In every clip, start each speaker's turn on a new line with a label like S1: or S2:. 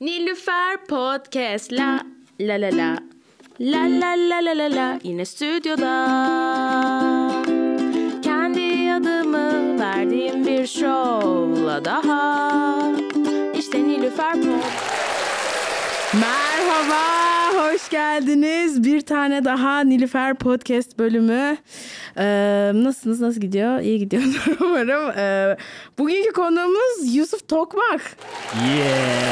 S1: Nilüfer Podcast la la la la la la la la la la yine stüdyoda kendi adımı verdiğim bir şovla daha işte Nilüfer Pod
S2: Merhaba, hoş geldiniz. Bir tane daha Nilüfer Podcast bölümü. Ee, nasılsınız, nasıl gidiyor? İyi gidiyordur umarım. Ee, bugünkü konuğumuz Yusuf Tokmak.
S3: Yeah.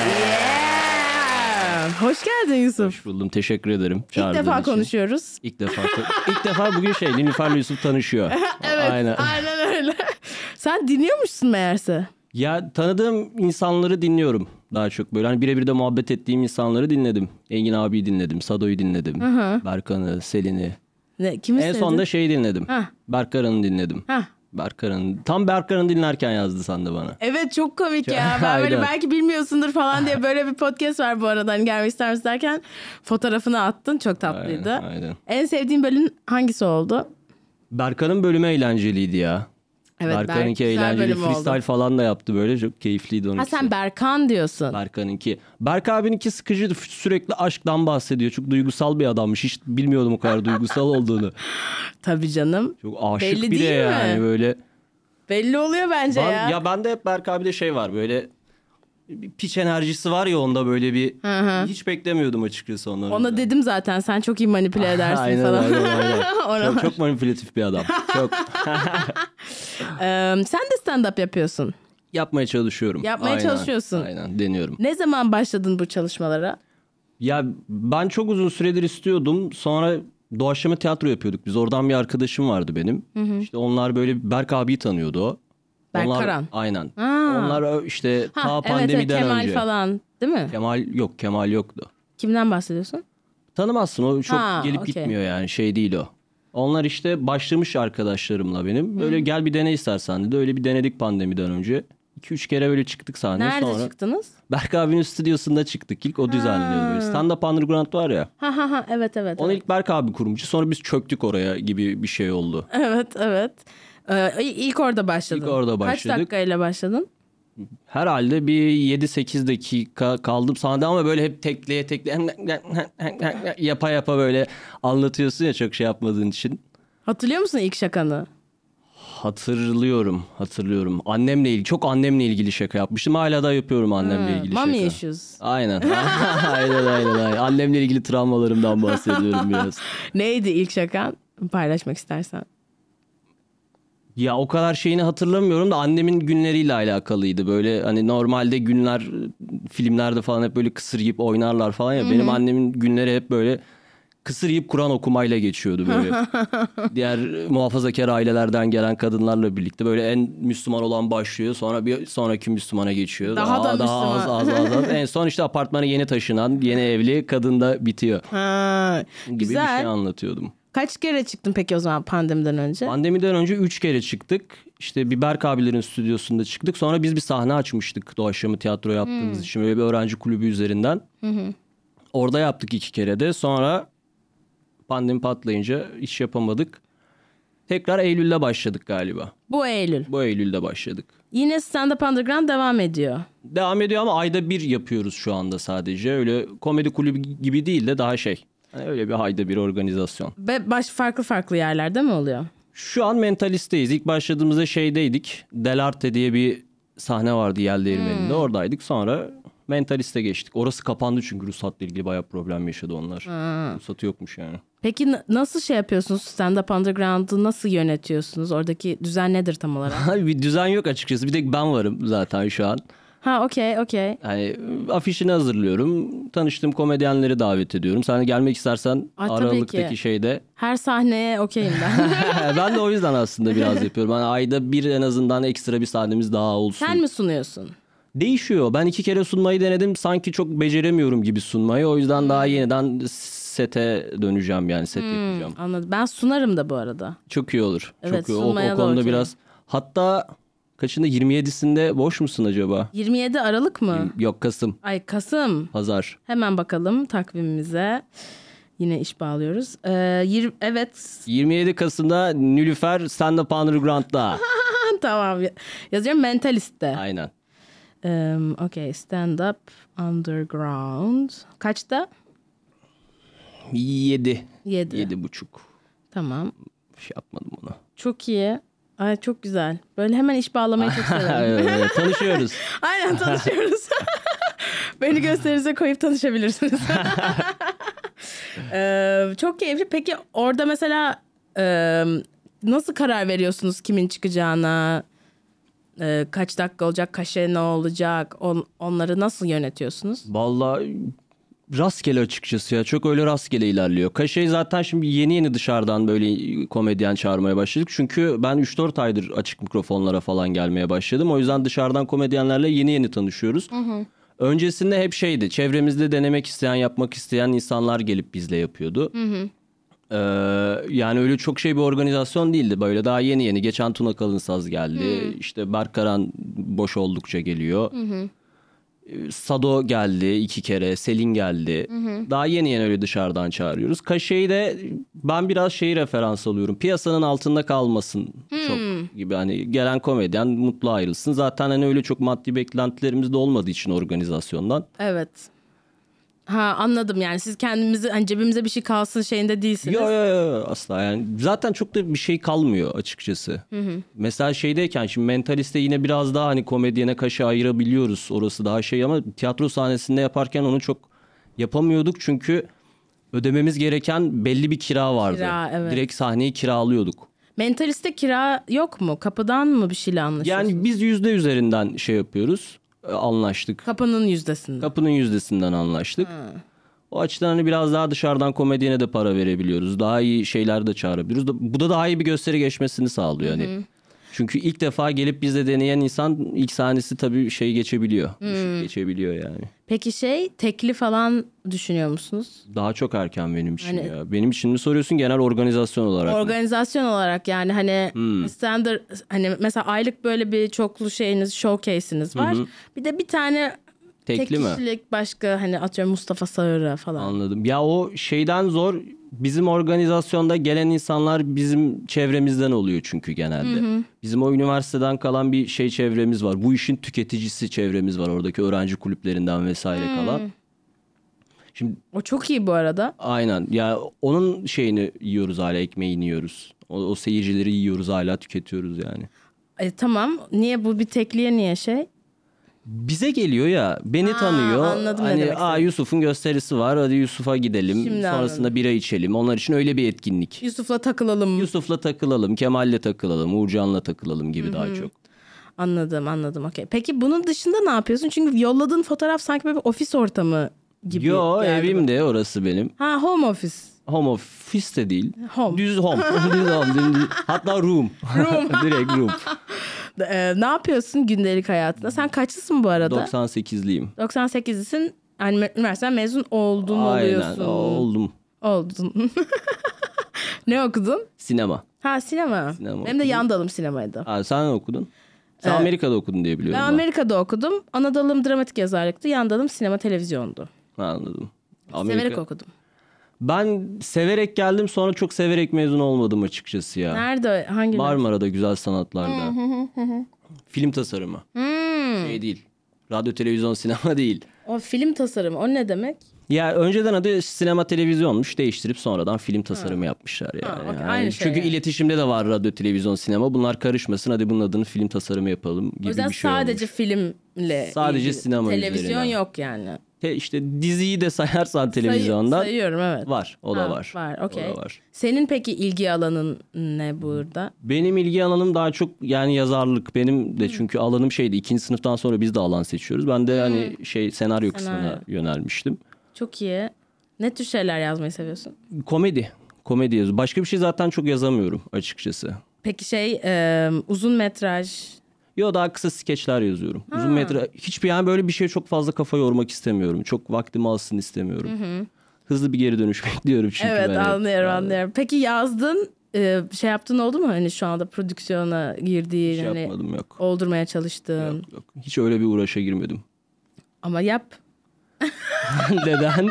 S2: Yeah. Hoş geldin Yusuf.
S3: Hoş buldum. Teşekkür ederim.
S2: İlk
S3: çağırdığın
S2: defa
S3: için.
S2: konuşuyoruz.
S3: İlk defa. ilk defa bugün şey Nilüfer'le Yusuf tanışıyor.
S2: Evet,
S3: Aynen.
S2: aynen öyle. Sen dinliyormuşsun meğerse.
S3: Ya tanıdığım insanları dinliyorum daha çok böyle. Hani birebir de muhabbet ettiğim insanları dinledim. Engin abiyi dinledim, Sado'yu dinledim, Berkan'ı, Selin'i.
S2: Ne, kimi
S3: En
S2: sevdin?
S3: son da şeyi dinledim.
S2: Hah.
S3: Berkaran'ı dinledim.
S2: Hah.
S3: Berkaran'ı. Tam Berkaran'ı dinlerken yazdı sende bana.
S2: Evet çok komik ya. Ben böyle
S3: Aynen.
S2: belki bilmiyorsundur falan diye böyle bir podcast var bu arada. Hani gelmek ister misin derken fotoğrafını attın. Çok tatlıydı.
S3: Aynen, aynen.
S2: En sevdiğin bölüm hangisi oldu?
S3: Berkan'ın bölümü eğlenceliydi ya.
S2: Evet,
S3: Berkan'ınki
S2: Berk- güzel
S3: eğlenceli.
S2: bölüm oldu.
S3: Freestyle falan da yaptı böyle. Çok keyifliydi onun
S2: Ha sen Berkan diyorsun.
S3: Berkan'ınki. Berk abininki sıkıcıydı. F- Sürekli aşktan bahsediyor. Çok duygusal bir adammış. Hiç bilmiyordum o kadar duygusal olduğunu.
S2: Tabii canım.
S3: Çok aşık
S2: Belli
S3: bir de
S2: değil mi?
S3: yani böyle.
S2: Belli oluyor bence
S3: Ben,
S2: ya.
S3: ya. bende hep Berk abide şey var böyle bir piç enerjisi var ya onda böyle bir hiç beklemiyordum açıkçası onu.
S2: Ona dedim zaten sen çok iyi manipüle edersin
S3: aynen,
S2: falan.
S3: Aynen, aynen.
S2: Ona-
S3: çok, çok manipülatif bir adam. Çok
S2: Ee, sen de stand up yapıyorsun.
S3: yapmaya çalışıyorum.
S2: Yapmaya
S3: Aynen,
S2: çalışıyorsun.
S3: Aynen deniyorum.
S2: Ne zaman başladın bu çalışmalara?
S3: Ya ben çok uzun süredir istiyordum. Sonra doğaçlama tiyatro yapıyorduk. Biz oradan bir arkadaşım vardı benim. İşte onlar böyle Berk abiyi tanıyordu o.
S2: Berk
S3: onlar,
S2: Karan.
S3: Aynen. Onlar ö- işte
S2: Ha,
S3: ta
S2: evet, evet,
S3: pandemiden
S2: Kemal
S3: önce.
S2: falan değil mi?
S3: Kemal yok, Kemal yoktu.
S2: Kimden bahsediyorsun?
S3: Tanımazsın o çok
S2: Ha,
S3: gelip
S2: okey.
S3: gitmiyor yani şey değil o. Onlar işte başlamış arkadaşlarımla benim. Böyle gel bir dene istersen dedi. Öyle bir denedik pandemiden önce. 2-3 kere böyle çıktık sahneye
S2: Nerede
S3: sonra.
S2: çıktınız?
S3: Berk abinin stüdyosunda çıktık ilk. O düzenliyordu böyle. Stand Up Underground var ya.
S2: Ha ha ha evet evet.
S3: Onu
S2: evet.
S3: ilk Berk abi kurmuş. Sonra biz çöktük oraya gibi bir şey oldu.
S2: Evet evet. Ee, il- ilk orada başladın.
S3: İlk orada
S2: Kaç
S3: başladık.
S2: dakikayla başladın?
S3: Herhalde bir 7-8 dakika kaldım sahnede ama böyle hep tekleye tekleye yapa yapa böyle anlatıyorsun ya çok şey yapmadığın için.
S2: Hatırlıyor musun ilk şakanı?
S3: Hatırlıyorum, hatırlıyorum. Annemle ilgili, çok annemle ilgili şaka yapmıştım. Hala da yapıyorum annemle ilgili
S2: Mommy
S3: şaka.
S2: issues.
S3: Aynen. aynen, aynen, aynen. Annemle ilgili travmalarımdan bahsediyorum biraz.
S2: Neydi ilk şakan? Paylaşmak istersen.
S3: Ya o kadar şeyini hatırlamıyorum da annemin günleriyle alakalıydı. Böyle hani normalde günler filmlerde falan hep böyle kısır yiyip oynarlar falan ya. Benim annemin günleri hep böyle kısır yiyip Kur'an okumayla geçiyordu böyle. Diğer muhafazakar ailelerden gelen kadınlarla birlikte böyle en Müslüman olan başlıyor. Sonra bir sonraki Müslümana geçiyor.
S2: Daha da
S3: az,
S2: Müslüman.
S3: az, az, az. En son işte apartmana yeni taşınan yeni evli kadın da bitiyor
S2: Ha,
S3: gibi bir
S2: güzel.
S3: şey anlatıyordum.
S2: Kaç kere çıktın peki o zaman pandemiden önce?
S3: Pandemiden önce 3 kere çıktık. İşte Biber abilerin stüdyosunda çıktık. Sonra biz bir sahne açmıştık doğaçlama tiyatro yaptığımız için. Böyle bir öğrenci kulübü üzerinden. Orada yaptık iki kere de. Sonra pandemi patlayınca iş yapamadık. Tekrar Eylül'de başladık galiba.
S2: Bu Eylül.
S3: Bu Eylül'de başladık.
S2: Yine Stand Up Underground devam ediyor.
S3: Devam ediyor ama ayda bir yapıyoruz şu anda sadece. Öyle komedi kulübü gibi değil de daha şey. Hani Öyle bir ayda bir organizasyon.
S2: Ve baş farklı farklı yerlerde mi oluyor?
S3: Şu an mentalisteyiz. İlk başladığımızda şeydeydik. Delarte diye bir sahne vardı Yel Değirmeni'nde.
S2: Hmm.
S3: Oradaydık. Sonra mentaliste geçtik. Orası kapandı çünkü ruhsatla ilgili bayağı problem yaşadı onlar. Ruhsatı yokmuş yani.
S2: Peki n- nasıl şey yapıyorsunuz? Stand Up Underground'ı nasıl yönetiyorsunuz? Oradaki düzen nedir tam olarak?
S3: Abi bir düzen yok açıkçası. Bir tek ben varım zaten şu an.
S2: ha okey okey.
S3: Hani afişini hazırlıyorum. Tanıştığım komedyenleri davet ediyorum. Sen de gelmek istersen
S2: Ay, tabii ki.
S3: Aralık'taki şeyde.
S2: Her sahneye okeyim
S3: Şey-
S2: ben.
S3: ben de o yüzden aslında biraz yapıyorum. Hani ayda bir en azından ekstra bir sahnemiz daha olsun.
S2: Sen mi sunuyorsun?
S3: Değişiyor. Ben iki kere sunmayı denedim. Sanki çok beceremiyorum gibi sunmayı. O yüzden daha
S2: Hmm.
S3: yeniden sete döneceğim yani set yapacağım.
S2: Anladım. Ben sunarım da bu arada.
S3: Çok iyi olur.
S2: Evet,
S3: çok iyi. O, o
S2: sunmaya da
S3: konuda
S2: okey.
S3: biraz. Hatta kaçında 27'sinde boş musun acaba?
S2: 27 Aralık mı?
S3: Yok Kasım.
S2: Ay Kasım.
S3: Pazar.
S2: Hemen bakalım takvimimize. Yine iş bağlıyoruz. Ee, yir- evet
S3: 27 Kasım'da Nülüfer Stand Up Underground'da.
S2: tamam yazıyorum mentaliste.
S3: Aynen.
S2: Em, okay, stand up underground. Kaçta?
S3: 7.
S2: Yedi.
S3: 7 buçuk.
S2: Tamam.
S3: Bir şey yapmadım ona.
S2: Çok iyi. Ay çok güzel. Böyle hemen iş bağlamayı çok severim.
S3: Evet, tanışıyoruz.
S2: Aynen tanışıyoruz. Beni gösterinize koyup tanışabilirsiniz. Ee, çok keyifli. Peki orada mesela e, nasıl karar veriyorsunuz kimin çıkacağına? E, kaç dakika olacak? Kaşe ne olacak? On- onları nasıl yönetiyorsunuz?
S3: Vallahi rastgele açıkçası ya. Çok öyle rastgele ilerliyor. Kaşe'yi zaten şimdi yeni yeni dışarıdan böyle komedyen çağırmaya başladık. Çünkü ben 3-4 aydır açık mikrofonlara falan gelmeye başladım. O yüzden dışarıdan komedyenlerle yeni yeni tanışıyoruz. Öncesinde hep şeydi. Çevremizde denemek isteyen, yapmak isteyen insanlar gelip bizle yapıyordu. Ee, yani öyle çok şey bir organizasyon değildi. Böyle daha yeni yeni. Geçen Tuna Kalınsaz geldi. İşte Berk Karan boş oldukça geliyor. Sado geldi iki kere, Selin geldi. Daha yeni yeni öyle dışarıdan çağırıyoruz. Kaşe'yi de ben biraz şeyi referans alıyorum. Piyasanın altında kalmasın çok gibi hani gelen komedyen mutlu ayrılsın. Zaten hani öyle çok maddi beklentilerimiz de olmadığı için organizasyondan.
S2: Evet. Ha anladım yani siz kendimizi hani cebimize bir şey kalsın şeyinde değilsiniz.
S3: Yo yo yo asla yani zaten çok da bir şey kalmıyor açıkçası. Mesela şeydeyken şimdi mentaliste yine biraz daha hani komedyene kaşı ayırabiliyoruz orası daha şey ama tiyatro sahnesinde yaparken onu çok yapamıyorduk çünkü ödememiz gereken belli bir kira vardı.
S2: Kira, evet.
S3: Direkt sahneyi kiralıyorduk.
S2: Mentaliste kira yok mu? Kapıdan mı bir şeyle anlaşıyorsunuz?
S3: Yani biz yüzde üzerinden şey yapıyoruz e, anlaştık.
S2: Kapının yüzdesinde.
S3: Kapının yüzdesinden anlaştık. O açıdan hani biraz daha dışarıdan komedyene de para verebiliyoruz. Daha iyi şeyler de çağırabiliyoruz. Da- Bu da daha iyi bir gösteri geçmesini sağlıyor hani. Çünkü ilk defa gelip bizde deneyen insan ilk sahnesi tabii şey geçebiliyor. Düşük geçebiliyor yani.
S2: Peki şey tekli falan düşünüyor musunuz?
S3: Daha çok erken benim için
S2: Hani-
S3: ya. Benim için mi soruyorsun genel organizasyon olarak? mı?
S2: Organizasyon olarak yani hani
S3: Hmm.
S2: standart hani mesela aylık böyle bir çoklu şeyiniz showcase'iniz var. Bir de bir tane
S3: Tekli
S2: tek
S3: mi?
S2: kişilik başka hani atıyorum Mustafa Sağır'a falan.
S3: Anladım. Ya o şeyden zor. Bizim organizasyonda gelen insanlar bizim çevremizden oluyor çünkü genelde. Bizim o üniversiteden kalan bir şey çevremiz var. Bu işin tüketicisi çevremiz var. Oradaki öğrenci kulüplerinden vesaire kalan. Şimdi
S2: O çok iyi bu arada.
S3: aynen ya onun şeyini yiyoruz hala ekmeğini yiyoruz. O, o seyircileri yiyoruz hala tüketiyoruz yani.
S2: E, tamam. Niye bu bir tekliye niye şey?
S3: Bize geliyor ya beni tanıyor.
S2: anladım ne
S3: hani
S2: demek
S3: aa
S2: istediğini."
S3: Yusuf'un gösterisi var. Hadi Yusuf'a gidelim.
S2: Şimdi
S3: Sonrasında bira içelim. Onlar için öyle bir etkinlik.
S2: Yusuf'la takılalım.
S3: Yusuf'la takılalım, Kemal'le takılalım, Uğurcan'la takılalım gibi daha çok.
S2: Anladım anladım okey. Peki bunun dışında ne yapıyorsun? Çünkü yolladığın fotoğraf sanki böyle bir ofis ortamı gibi.
S3: Yo
S2: geldi bana.
S3: evim de orası benim.
S2: Ha home office.
S3: Home office de değil.
S2: Home.
S3: Düz home. düz home. dümdüz. Hatta room. Direkt room.
S2: Ee, ne yapıyorsun gündelik hayatında? Sen kaçlısın bu arada?
S3: 98'liyim.
S2: 98'lisin. Yani me- üniversiteden mezun oldun
S3: Aynen
S2: oluyorsun.
S3: oldum.
S2: Oldun. ne okudun?
S3: Sinema.
S2: Ha sinema.
S3: Sinema
S2: Benim de yan dalım sinemaydı.
S3: Ha, sen ne okudun? Sen Amerika'da okudun diye biliyorum.
S2: Ben
S3: ben.
S2: Amerika'da okudum. Ana dalım dramatik yazarlıktı. Yan dalım sinema televizyondu.
S3: Ha, Anladım.
S2: Severek okudum.
S3: Ben severek geldim sonra çok severek mezun olmadım açıkçası ya.
S2: Nerede? Hangi?
S3: Marmara'da güzel sanatlarda. Film tasarımı.
S2: Hmm.
S3: Şey değil. Radyo, televizyon, sinema değil.
S2: O film tasarımı. O ne demek?
S3: Ya önceden adı sinema televizyonmuş değiştirip sonradan film tasarımı yapmışlar yani.
S2: Ha, okey,
S3: Yani
S2: aynı şey
S3: çünkü
S2: yani.
S3: iletişimde de var radyo, televizyon, sinema. Bunlar karışmasın hadi bunun adını film tasarımı yapalım gibi
S2: o yüzden
S3: bir şey
S2: sadece
S3: olmuş.
S2: filmle
S3: Sadece
S2: ilgili.
S3: sinema
S2: Televizyon
S3: üzerine.
S2: yok yani.
S3: Te- işte diziyi de sayarsan
S2: Sayı-
S3: televizyondan
S2: sayıyorum evet.
S3: var. O da
S2: Ha,
S3: var.
S2: Var,
S3: O
S2: okey.
S3: da var.
S2: Senin peki ilgi alanın ne burada?
S3: Benim ilgi alanım daha çok yani yazarlık. Benim de çünkü alanım şeydi. ikinci sınıftan sonra biz de alan seçiyoruz. Ben de hani şey senaryo kısmına
S2: Senaryo.
S3: yönelmiştim.
S2: Çok iyi. Ne tür şeyler yazmayı seviyorsun?
S3: Komedi. Komedi yazıyorum. Başka bir şey zaten çok yazamıyorum açıkçası.
S2: Peki şey e, uzun metraj.
S3: Yo daha kısa skeçler yazıyorum. Uzun metre hiçbir yani böyle bir şeye çok fazla kafa yormak istemiyorum. Çok vaktimi alsın istemiyorum. Hızlı bir geri dönüş bekliyorum çünkü
S2: evet
S3: ben. hep.
S2: anlıyorum anlıyorum. Peki yazdın e, şey yaptın oldu mu? Hani şu anda prodüksiyona girdiğin
S3: Hiç
S2: hani
S3: şey yapmadım yok.
S2: oldurmaya çalıştığın.
S3: Yok, Hiç öyle bir uğraşa girmedim.
S2: Ama yap.
S3: Neden?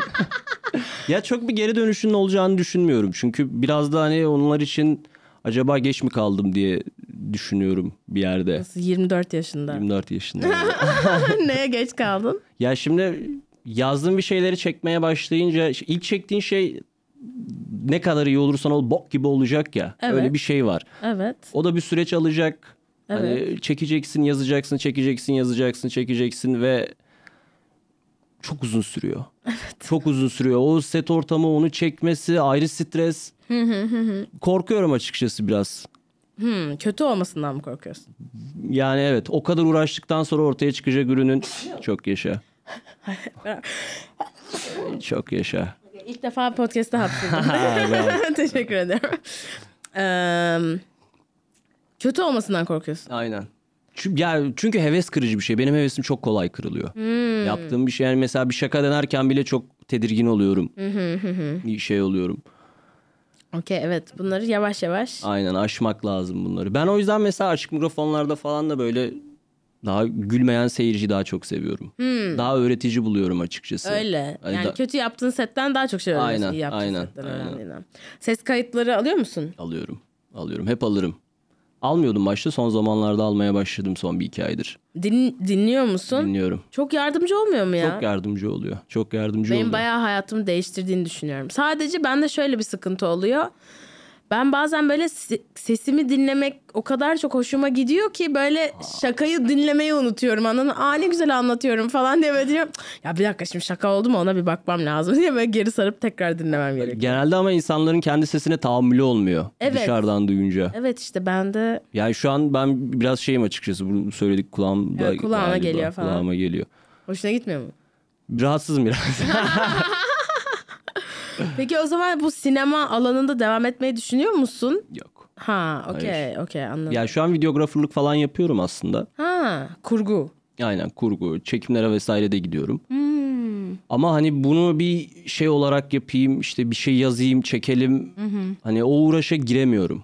S3: ya çok bir geri dönüşünün olacağını düşünmüyorum. Çünkü biraz da hani onlar için acaba geç mi kaldım diye düşünüyorum bir yerde.
S2: Nasıl 24 yaşında?
S3: 24 yaşında.
S2: Neye geç kaldın?
S3: ya şimdi yazdığım bir şeyleri çekmeye başlayınca ilk çektiğin şey ne kadar iyi olursan ol bok gibi olacak ya.
S2: Evet.
S3: Öyle bir şey var.
S2: Evet.
S3: O da bir süreç alacak. Hani
S2: Evet.
S3: çekeceksin, yazacaksın, çekeceksin, yazacaksın, çekeceksin ve çok uzun sürüyor. Çok uzun sürüyor. O set ortamı, onu çekmesi, ayrı stres. Korkuyorum açıkçası biraz.
S2: Hmm, kötü olmasından mı korkuyorsun?
S3: Yani evet, o kadar uğraştıktan sonra ortaya çıkacak ürünün çok yaşa. çok yaşa.
S2: İlk defa podcast'ta hapsırdım. Teşekkür ederim. Eee, kötü olmasından korkuyorsun.
S3: Aynen. Çünkü, ya çünkü heves kırıcı bir şey. Benim hevesim çok kolay kırılıyor.
S2: Hmm.
S3: Yaptığım bir şey yani mesela bir şaka denerken bile çok tedirgin oluyorum. bir şey oluyorum.
S2: Okey evet bunları yavaş yavaş.
S3: Aynen aşmak lazım bunları. Ben o yüzden mesela açık mikrofonlarda falan da böyle daha gülmeyen seyirci daha çok seviyorum. Daha öğretici buluyorum açıkçası.
S2: Hmm. Öyle.
S3: Ay,
S2: yani
S3: da-
S2: kötü yaptığın setten daha çok şey öğreniyorsun.
S3: Aynen,
S2: iyi yaptığın
S3: aynen,
S2: setten
S3: aynen.
S2: öğrendiğinden. Ses kayıtları alıyor musun?
S3: Alıyorum. Alıyorum. Hep alırım. Almıyordum başta. Son zamanlarda almaya başladım son bir iki aydır.
S2: Din, dinliyor musun?
S3: Dinliyorum.
S2: Çok yardımcı olmuyor mu ya?
S3: Çok yardımcı oluyor. Çok yardımcı
S2: Benim
S3: oluyor.
S2: bayağı hayatımı değiştirdiğini düşünüyorum. Sadece bende şöyle bir sıkıntı oluyor. Ben bazen böyle se- sesimi dinlemek o kadar çok hoşuma gidiyor ki böyle şakayı dinlemeyi unutuyorum. Anladın mı? Aa ne güzel anlatıyorum falan diye böyle diyorum. "Cık, Ya bir dakika şimdi şaka oldu mu ona bir bakmam lazım diye böyle geri sarıp tekrar dinlemem gerekiyor.
S3: Genelde ama insanların kendi sesine tahammülü olmuyor.
S2: Evet.
S3: Dışarıdan duyunca.
S2: Evet işte bende
S3: Yani şu an ben biraz şeyim açıkçası. Bunu söyledik kulağımda.
S2: Evet, kulağına
S3: galiba.
S2: geliyor falan.
S3: Kulağıma geliyor.
S2: hoşuna gitmiyor mu?
S3: Rahatsızım biraz.
S2: Peki o zaman bu sinema alanında devam etmeyi düşünüyor musun?
S3: Yok.
S2: Ha okey okey anladım.
S3: Ya şu an videografırlık falan yapıyorum aslında.
S2: Ha kurgu.
S3: Aynen kurgu, çekimlere vesaire de gidiyorum.
S2: Hmm.
S3: Ama hani bunu bir şey olarak yapayım, işte bir şey yazayım, çekelim. Hani o uğraşa giremiyorum.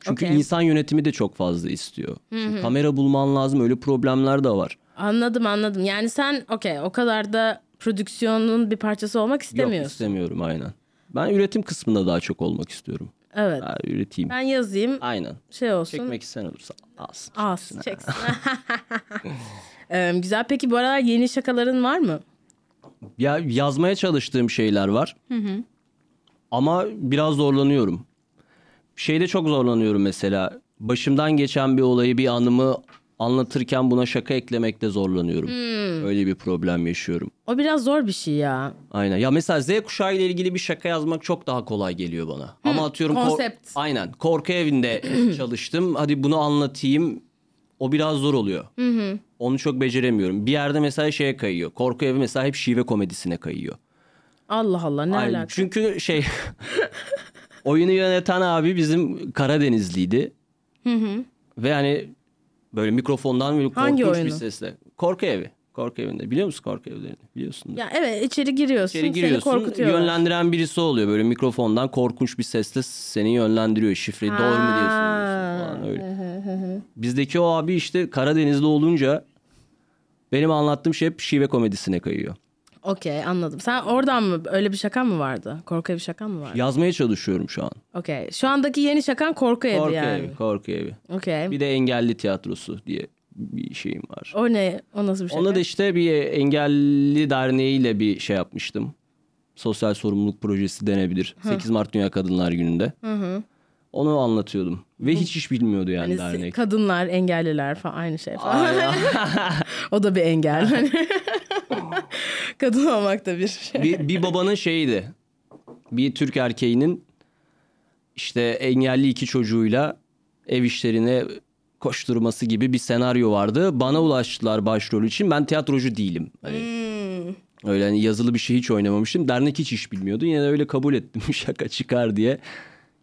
S3: Çünkü
S2: Okey.
S3: insan yönetimi de çok fazla istiyor. Şimdi kamera bulman lazım, öyle problemler de var.
S2: Anladım anladım. Yani sen okey o kadar da prodüksiyonun bir parçası olmak
S3: Yok
S2: istemiyorsun.
S3: istemiyorum aynen. Ben üretim kısmında daha çok olmak istiyorum.
S2: evet.
S3: Ha, üreteyim.
S2: Ben yazayım
S3: Aynen.
S2: şey olsun.
S3: Çekmek isteyen olursa az.
S2: Az çeksin. Ee, güzel. Peki bu aralar yeni şakaların var mı?
S3: Ya yazmaya çalıştığım şeyler var. Ama biraz zorlanıyorum. Şeyde çok zorlanıyorum mesela. Başımdan geçen bir olayı, bir anımı anlatırken buna şaka eklemekte zorlanıyorum. Öyle bir problem yaşıyorum.
S2: O biraz zor bir şey ya.
S3: Aynen. Ya mesela Z kuşağı ile ilgili bir şaka yazmak çok daha kolay geliyor bana. Ama atıyorum kor-
S2: konsept.
S3: aynen. Korku evinde çalıştım. Hadi bunu anlatayım. O biraz zor oluyor. Onu çok beceremiyorum. Bir yerde mesela şeye kayıyor. Korku evi mesela hep şive komedisine kayıyor.
S2: Allah Allah ne
S3: Ay,
S2: alaka?
S3: Çünkü şey oyunu yöneten abi bizim Karadenizliydi. Ve hani böyle mikrofondan böyle
S2: Hangi
S3: korkunç bir
S2: oyunu?
S3: sesle. Korku evi. Korku evinde. Biliyor musun korku evlerini? Biliyorsun.
S2: Ya evet içeri giriyorsun.
S3: İçeri
S2: Seni
S3: giriyorsun.
S2: korkutuyorlar.
S3: Yönlendiren birisi oluyor. Böyle mikrofondan korkunç bir sesle seni yönlendiriyor. Şifre doğru mu diyorsun, diyorsun falan öyle. Bizdeki o abi işte Karadenizli olunca benim anlattığım şey hep şive komedisine kayıyor.
S2: Okey anladım. Sen oradan mı öyle bir şakan mı vardı? Korku evi şakan mı vardı?
S3: Yazmaya çalışıyorum şu an.
S2: Okey. Şu andaki yeni şakan korku evi
S3: Korku
S2: yani.
S3: evi, korku evi.
S2: Okey.
S3: Bir de engelli tiyatrosu diye bir şeyim var.
S2: O ne? O nasıl bir şey? şaka?
S3: Ona da işte bir engelli derneğiyle bir şey yapmıştım. Sosyal sorumluluk projesi denebilir. 8 Mart Dünya Kadınlar Günü'nde. Onu anlatıyordum. Ve hiç iş bilmiyordu yani
S2: Hani
S3: dernek.
S2: kadınlar, engelliler falan aynı şey falan. o da bir engel. Hani Kadın olmak da bir şey.
S3: bir, bir babanın şeyiydi. Bir Türk erkeğinin işte engelli iki çocuğuyla ev işlerine koşturması gibi bir senaryo vardı. Bana ulaştılar başrol için. Ben tiyatrocu değilim. Hani Öyle hani yazılı bir şey hiç oynamamıştım. Dernek hiç iş bilmiyordu. Yine de öyle kabul ettim şaka çıkar diye.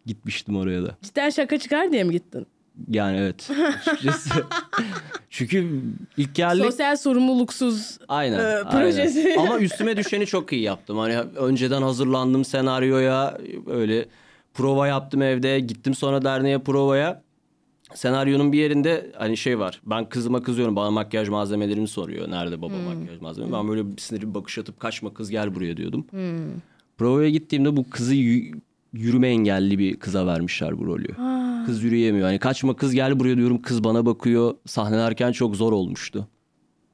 S3: Gitmiştim oraya da.
S2: Cidden şaka çıkar diye mi gittin?
S3: Yani evet. Açıkçası. Çünkü ilk geldik.
S2: Sosyal sorumluluksuz.
S3: Aynen.
S2: Ee,
S3: aynen.
S2: projesi.
S3: Ama üstüme düşeni çok iyi yaptım. Hani önceden hazırlandım senaryoya. Öyle prova yaptım evde. Gittim sonra derneğe provaya. Senaryonun bir yerinde hani şey var. Ben kızıma kızıyorum. Bana makyaj malzemelerimi soruyor. Nerede
S2: Hmm.
S3: baba makyaj malzememi? Ben böyle bir sinirli bir bakış atıp kaçma kız gel buraya diyordum.
S2: Hmm.
S3: Provaya gittiğimde bu kızı yü- yürüme engelli bir kıza vermişler bu rolü.
S2: Aa,
S3: Kız yürüyemiyor. Hani kaçma kız gel buraya diyorum kız bana bakıyor. Sahnelerken çok zor olmuştu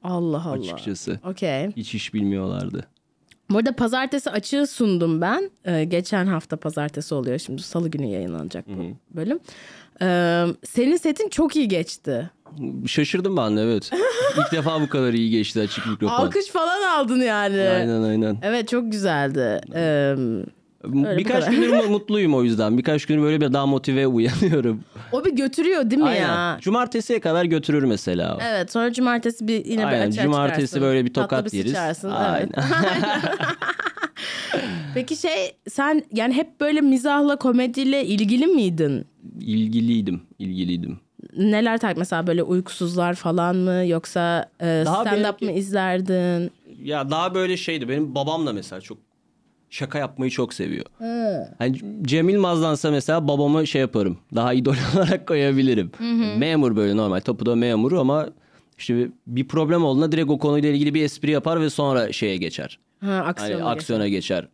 S2: Allah Allah.
S3: açıkçası.
S2: Okey.
S3: Hiç iş bilmiyorlardı.
S2: Bu arada pazartesi açığı sundum ben. Ee, geçen hafta pazartesi oluyor. Şimdi salı günü yayınlanacak bu bölüm. Ee, senin setin çok iyi geçti.
S3: Şaşırdım ben de evet. İlk defa bu kadar iyi geçti açık mikrofon.
S2: Alkış falan aldın yani.
S3: Aynen aynen.
S2: Evet çok güzeldi. Ee, bu
S3: Birkaç
S2: kadar.
S3: gündür mu- mutluyum o yüzden. Birkaç gün böyle bir daha motive uyanıyorum.
S2: o bir götürüyor değil mi ya?
S3: Aynen. Cumartesiye kadar götürür mesela. o.
S2: Evet sonra cumartesi bir yine bir
S3: Aynen,
S2: açığa
S3: cumartesi
S2: çıkarsın.
S3: böyle bir
S2: Tatlı
S3: tokat yeriz.
S2: sıçarsın,
S3: Aynen.
S2: Evet. Peki şey sen yani hep böyle mizahla komediyle ilgili miydin?
S3: İlgiliydim, ilgiliydim.
S2: Neler takip mesela böyle uykusuzlar falan mı yoksa e,
S3: Daha
S2: stand-up
S3: belki-
S2: mı izlerdin?
S3: Ya daha böyle şeydi. Benim babam da mesela çok şaka yapmayı çok seviyor. Hani Cem Yılmaz'dansa mesela babamı şey yaparım. Daha idol olarak koyabilirim. Memur böyle normal. Tapuda memuru ama işte bir problem olduğunda direkt o konuyla ilgili bir espri yapar ve sonra şeye geçer.
S2: Ha,
S3: Hani
S2: aksiyona geç.
S3: aksiyona geçer.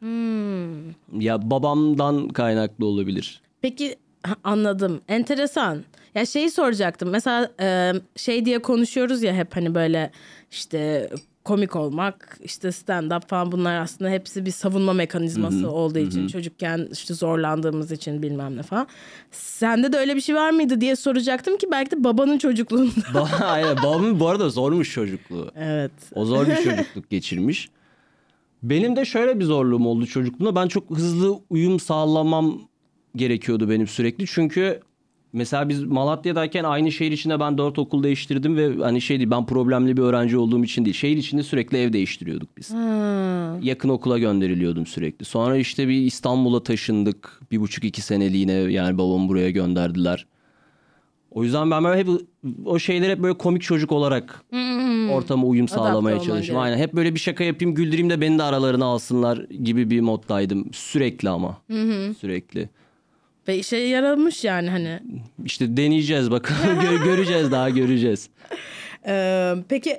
S3: Ya babamdan kaynaklı olabilir.
S2: Peki ha, anladım. Enteresan. Ya şeyi soracaktım. Mesela e, şey diye konuşuyoruz ya hep hani böyle işte komik olmak, işte stand up falan bunlar aslında hepsi bir savunma mekanizması olduğu için çocukken işte zorlandığımız için bilmem ne falan. Sende de öyle bir şey var mıydı diye soracaktım ki belki de babanın çocukluğunda.
S3: Ba- Aynen. Babamın bu arada zormuş çocukluğu.
S2: evet.
S3: O zor bir çocukluk geçirmiş. Benim de şöyle bir zorluğum oldu çocukluğumda. Ben çok hızlı uyum sağlamam gerekiyordu benim sürekli. Çünkü mesela biz Malatya'dayken aynı şehir içinde ben dört okul değiştirdim ve hani şey değil ben problemli bir öğrenci olduğum için değil. Şehir içinde sürekli ev değiştiriyorduk biz. Yakın okula gönderiliyordum sürekli. Sonra işte bir İstanbul'a taşındık. Bir buçuk iki seneliğine yani babamı buraya gönderdiler. O yüzden ben böyle hep o şeyleri hep böyle komik çocuk olarak ortama uyum sağlamaya
S2: Hmm. olman
S3: çalıştım.
S2: gerek.
S3: Aynen hep böyle bir şaka yapayım güldüreyim de beni de aralarına alsınlar gibi bir moddaydım. Sürekli ama. Sürekli.
S2: Ve işe yaramış yani hani.
S3: İşte deneyeceğiz bakalım Gö- göreceğiz daha göreceğiz.
S2: Ee, peki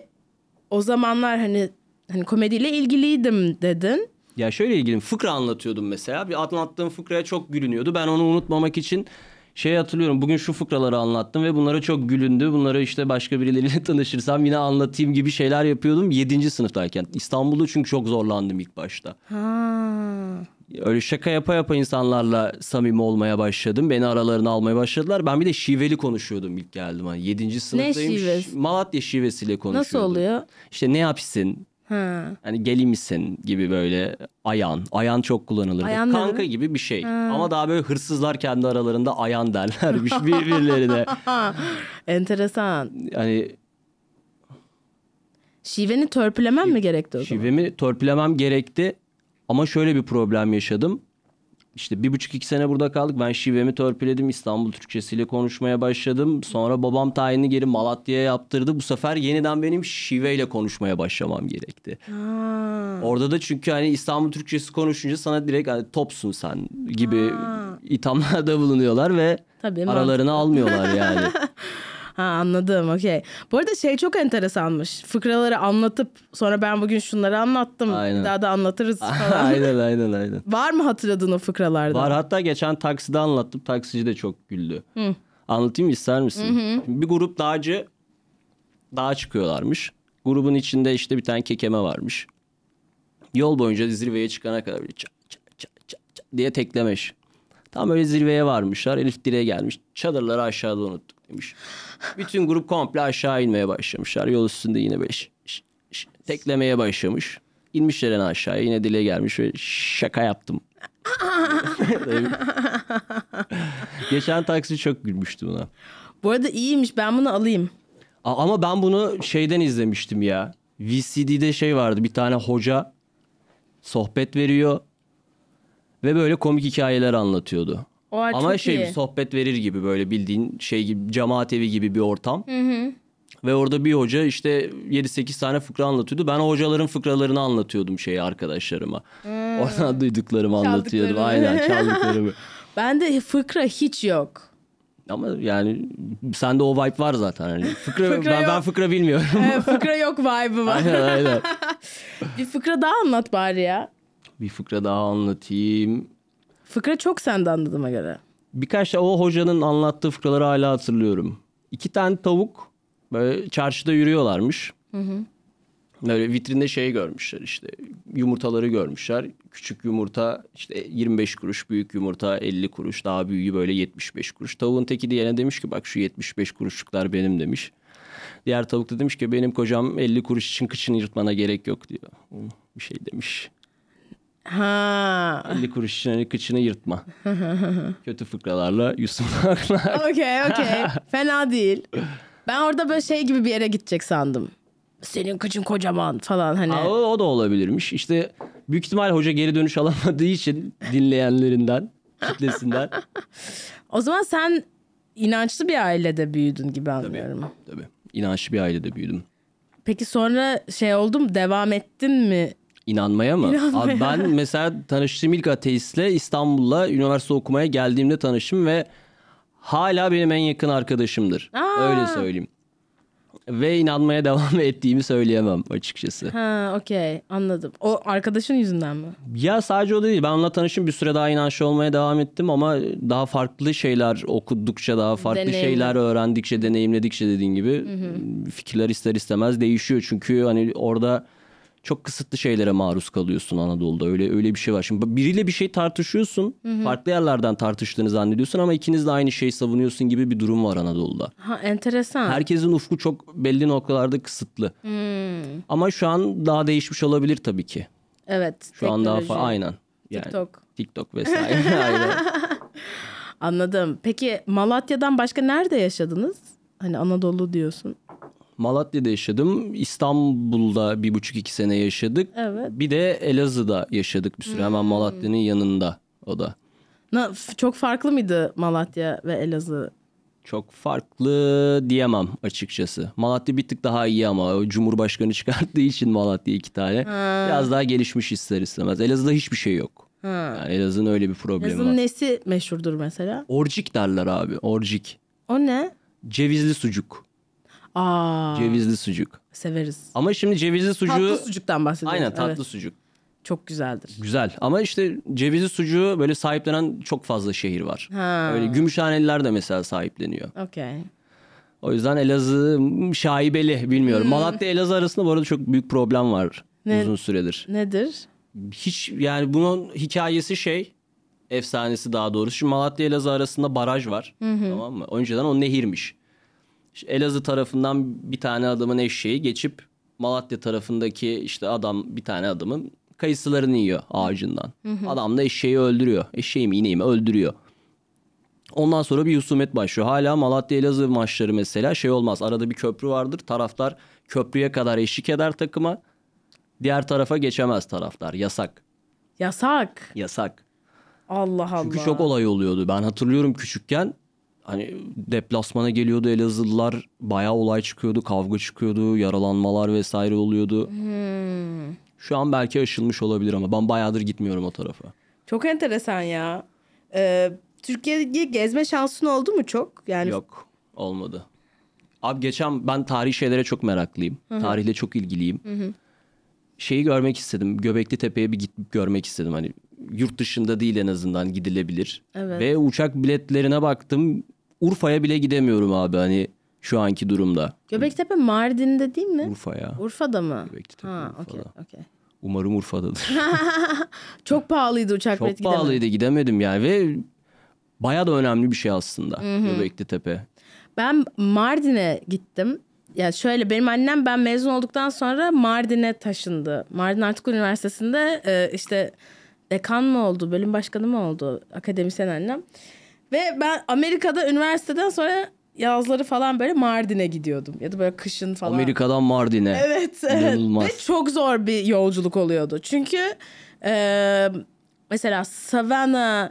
S2: o zamanlar hani hani komediyle ilgiliydim dedin.
S3: Ya şöyle ilgili fıkra anlatıyordum mesela. Bir anlattığım fıkraya çok gülünüyordu. Ben onu unutmamak için şey hatırlıyorum. Bugün şu fıkraları anlattım ve bunlara çok gülündü. Bunları işte başka birileriyle tanışırsam yine anlatayım gibi şeyler yapıyordum. 7. sınıftayken. İstanbul'da çünkü çok zorlandım ilk başta.
S2: Ha.
S3: Öyle şaka yapa yapa insanlarla samimi olmaya başladım. Beni aralarına almaya başladılar. Ben bir de şiveli konuşuyordum ilk geldim. Hani 7. sınıftayım.
S2: şivesi?
S3: Ş- Malatya şivesiyle
S2: Nasıl
S3: konuşuyordum.
S2: oluyor?
S3: İşte ne yapsın,
S2: Ha.
S3: Hani geli misin gibi böyle ayan. Ayan çok kullanılır.
S2: Ayan ne
S3: Kanka
S2: demek?
S3: gibi bir şey. Ama daha böyle hırsızlar kendi aralarında ayan derlermiş birbirlerine.
S2: Enteresan.
S3: Hani
S2: Şiveni törpülemen mi gerekti o zaman?
S3: şivemi törpülemem gerekti. Ama şöyle bir problem yaşadım. İşte bir buçuk iki sene burada kaldık. Ben şivemi törpüledim. İstanbul Türkçesiyle konuşmaya başladım. Sonra babam tayini geri Malatya'ya yaptırdı. Bu sefer yeniden benim şiveyle konuşmaya başlamam gerekti.
S2: Ha.
S3: Orada da çünkü hani İstanbul Türkçesi konuşunca sana direkt hani topsun sen gibi ithamlarda bulunuyorlar ve
S2: Tabii,
S3: aralarını almıyorlar yani.
S2: ha anladım okey. Bu arada şey çok enteresanmış. Fıkraları anlatıp sonra ben bugün şunları anlattım.
S3: Aynen.
S2: Bir daha da anlatırız falan.
S3: aynen aynen aynen.
S2: Var mı hatırladığın o fıkralardan?
S3: Var hatta geçen takside anlattım. Taksici de çok güldü. Anlatayım mı, ister misin? Şimdi bir grup dağcı dağa çıkıyorlarmış. Grubun içinde işte bir tane kekeme varmış. Yol boyunca zirveye çıkana kadar böyle çat çat çat çat çat diye teklemiş. Tam öyle zirveye varmışlar. Elif direğe gelmiş. Çadırları aşağıda unuttuk demiş. Bütün grup komple aşağı inmeye başlamışlar. Yol üstünde yine böyle şş, şş, şş teklemeye başlamış. İnmişler en aşağıya. Yine dile gelmiş. Böyle şaka yaptım. Geçen taksi çok gülmüştü buna.
S2: Bu arada iyiymiş ben bunu alayım.
S3: A- Ama ben bunu şeyden izlemiştim ya. VCD'de şey vardı bir tane hoca sohbet veriyor ve böyle komik hikayeler anlatıyordu.
S2: O ay
S3: Ama
S2: çok
S3: şey
S2: iyi.
S3: bir sohbet verir gibi böyle bildiğin şey gibi cemaat evi gibi bir ortam. Ve orada bir hoca işte 7-8 tane fıkra anlatıyordu. Ben o hocaların fıkralarını anlatıyordum şeyi arkadaşlarıma. Oradan duyduklarımı
S2: Hmm.
S3: anlatıyordum.
S2: Çaldıklarını.
S3: Aynen çaldıklarımı.
S2: Bende fıkra hiç yok.
S3: Ama yani sende o vibe var zaten. Hani fıkra,
S2: Fıkra
S3: ben,
S2: yok.
S3: ben fıkra bilmiyorum.
S2: Evet, fıkra yok vibe'ı var.
S3: aynen aynen.
S2: bir fıkra daha anlat bari ya.
S3: Bir fıkra daha anlatayım.
S2: Fıkra çok sende anladığıma göre.
S3: Birkaç da o hocanın anlattığı fıkraları hala hatırlıyorum. İki tane tavuk böyle çarşıda yürüyorlarmış. Böyle vitrinde şey görmüşler işte yumurtaları görmüşler. Küçük yumurta işte 25 kuruş, büyük yumurta 50 kuruş, daha büyüğü böyle 75 kuruş. Tavuğun teki diğerine demiş ki bak şu 75 kuruşluklar benim demiş. Diğer tavuk da demiş ki benim kocam 50 kuruş için kıçını yırtmana gerek yok diyor. Bir şey demiş.
S2: Ha.
S3: 50 kuruş için hani kıçını yırtma. Kötü fıkralarla Yusuf'un aklına.
S2: Okey okey. Fena değil. Ben orada böyle şey gibi bir yere gidecek sandım. Senin kıçın kocaman falan hani.
S3: Aa, O, o da olabilirmiş. İşte büyük ihtimal hoca geri dönüş alamadığı için dinleyenlerinden, kitlesinden.
S2: O zaman sen inançlı bir ailede büyüdün gibi anlıyorum.
S3: Tabii. İnançlı bir ailede büyüdüm.
S2: Peki sonra şey oldu mu? Devam ettin mi?
S3: İnanmaya mı?
S2: İnanmaya.
S3: Abi ben mesela tanıştığım ilk ateistle İstanbul'a üniversite okumaya geldiğimde tanıştım ve hala benim en yakın arkadaşımdır.
S2: Aa.
S3: Öyle söyleyeyim. Ve inanmaya devam ettiğimi söyleyemem açıkçası.
S2: Ha okey anladım. O arkadaşın yüzünden mi?
S3: Ya sadece o da değil. Ben onunla tanıştım. Bir süre daha inançlı olmaya devam ettim ama daha farklı şeyler okudukça, daha farklı
S2: Deneyimle-
S3: şeyler öğrendikçe, deneyimledikçe dediğin gibi fikirler ister istemez değişiyor. Çünkü hani orada çok kısıtlı şeylere maruz kalıyorsun Anadolu'da. Öyle öyle bir şey var. Şimdi biriyle bir şey tartışıyorsun. Farklı yerlerden tartıştığını zannediyorsun ama ikiniz de aynı şeyi savunuyorsun gibi bir durum var Anadolu'da.
S2: Ha enteresan.
S3: Herkesin ufku çok belli noktalarda kısıtlı. Ama şu an daha değişmiş olabilir tabii ki.
S2: Evet.
S3: Şu an daha
S2: teknoloji.
S3: fa- aynen. Yani
S2: TikTok.
S3: TikTok vesaire. aynen.
S2: Anladım. Peki Malatya'dan başka nerede yaşadınız? Hani Anadolu diyorsun.
S3: Malatya'da yaşadım. İstanbul'da bir buçuk iki sene yaşadık.
S2: Evet. Hmm.
S3: Bir de Elazığ'da yaşadık bir süre. Hemen Malatya'nın yanında o da.
S2: Na, f- çok farklı mıydı Malatya ve Elazığ?
S3: Çok farklı diyemem açıkçası. Malatya bir tık daha iyi ama o Cumhurbaşkanı çıkarttığı için Malatya iki tane. Biraz daha gelişmiş ister istemez. Elazığ'da hiçbir şey yok. Yani Elazığ'ın öyle bir problemi
S2: Elazığ'ın
S3: var.
S2: nesi meşhurdur mesela?
S3: Orcik derler abi. Orcik.
S2: O ne?
S3: Cevizli sucuk.
S2: Aa
S3: Cevizli sucuk.
S2: severiz.
S3: Ama şimdi cevizli sucuğu...
S2: Tatlı sucuktan bahsediyoruz.
S3: Aynen tatlı
S2: Evet,
S3: sucuk.
S2: çok güzeldir.
S3: Güzel ama işte cevizli sucuğu böyle sahiplenen çok fazla şehir var. Öyle Gümüşhaneliler de mesela sahipleniyor.
S2: Okey.
S3: O yüzden Elazığ mm, şaibeli bilmiyorum. Malatya Elazığ arasında bu arada çok büyük problem var
S2: Ne?
S3: uzun süredir.
S2: Nedir?
S3: Hiç yani bunun hikayesi şey efsanesi daha doğrusu. Şimdi Malatya Elazığ arasında baraj var. Tamam mı? Önceden o nehirmiş. İşte Elazığ tarafından bir tane adamın eşeği geçip Malatya tarafındaki işte adam bir tane adamın kayısılarını yiyor ağacından. Adam da eşeği öldürüyor. Eşeği mi ineği mi öldürüyor. Ondan sonra bir husumet başlıyor. Hala Malatya Elazığ maçları mesela şey olmaz. Arada bir köprü vardır. Taraftar köprüye kadar eşlik eder takıma. Diğer tarafa geçemez taraftar. Yasak.
S2: Yasak.
S3: Yasak.
S2: Allah Allah.
S3: Çünkü çok olay oluyordu. Ben hatırlıyorum küçükken hani deplasmana geliyordu Elazığlılar. Bayağı olay çıkıyordu, kavga çıkıyordu, yaralanmalar vesaire oluyordu. Şu an belki aşılmış olabilir ama ben bayağıdır gitmiyorum o tarafa.
S2: Çok enteresan ya. Ee, Türkiye'yi gezme şansın oldu mu çok? Yani
S3: Yok, olmadı. Abi geçen ben tarihi şeylere çok meraklıyım. Tarihle çok ilgiliyim. Şeyi görmek istedim. Göbekli Tepe'ye bir gitip görmek istedim. Hani yurt dışında değil en azından gidilebilir.
S2: Evet.
S3: Ve uçak biletlerine baktım. Urfa'ya bile gidemiyorum abi hani şu anki durumda.
S2: Göbektepe Mardin'de değil mi?
S3: Urfa'ya.
S2: Urfa'da mı?
S3: Göbektepe,
S2: ha,
S3: Urfa'da.
S2: okey, okey.
S3: Umarım Urfa'dadır.
S2: Çok pahalıydı uçak
S3: çok
S2: bileti gidemedim.
S3: pahalıydı gidemedim yani ve baya da önemli bir şey aslında Göbekli Tepe.
S2: Ben Mardin'e gittim. Ya şöyle benim annem ben mezun olduktan sonra Mardin'e taşındı. Mardin Artuklu Üniversitesi'nde e, işte dekan mı oldu, bölüm başkanı mı oldu akademisyen annem. Ve ben Amerika'da üniversiteden sonra yazları falan böyle Mardin'e gidiyordum. Ya da böyle kışın falan.
S3: Amerika'dan Mardin'e.
S2: Evet, evet.
S3: İnanılmaz.
S2: Ve çok zor bir yolculuk oluyordu. Çünkü e, mesela Savannah,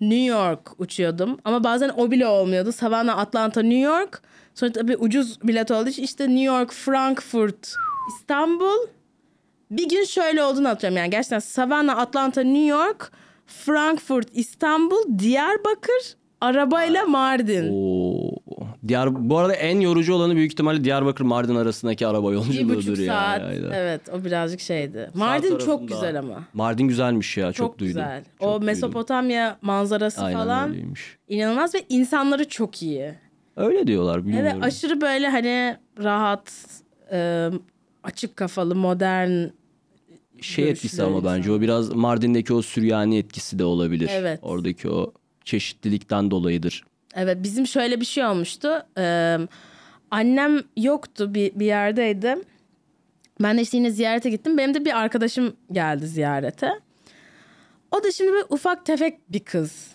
S2: New York uçuyordum. Ama bazen o bile olmuyordu. Savannah, Atlanta, New York. Sonra tabii ucuz bilet olduğu için işte New York, Frankfurt, İstanbul. Bir gün şöyle olduğunu hatırlıyorum. Yani gerçekten Savannah, Atlanta, New York, Frankfurt, İstanbul, Diyarbakır, arabayla Mardin.
S3: Oo, Diyar, bu arada en yorucu olanı büyük ihtimalle Diyarbakır Mardin arasındaki araba
S2: Bir
S3: yolculuğudur
S2: buçuk
S3: yani.
S2: saat.
S3: Aynen.
S2: Evet o birazcık şeydi. Mardin çok
S3: tarafında.
S2: güzel ama.
S3: Mardin güzelmiş ya çok,
S2: Çok,
S3: duydum.
S2: güzel.
S3: Çok
S2: o
S3: duydum.
S2: Mesopotamya manzarası
S3: Aynen
S2: falan
S3: öyleymiş.
S2: inanılmaz ve insanları çok iyi.
S3: Öyle diyorlar
S2: Evet
S3: bilmiyorum.
S2: aşırı böyle hani rahat, e, açık kafalı, modern.
S3: şey etkisi
S2: görüşleri
S3: ama bence o biraz Mardin'deki o Süryani etkisi de olabilir.
S2: Evet.
S3: Oradaki o çeşitlilikten dolayıdır.
S2: Evet bizim şöyle bir şey olmuştu. E, annem yoktu bir, bir yerdeydim. Ben de işte yine ziyarete gittim. Benim de bir arkadaşım geldi ziyarete. O da şimdi böyle ufak tefek bir kız.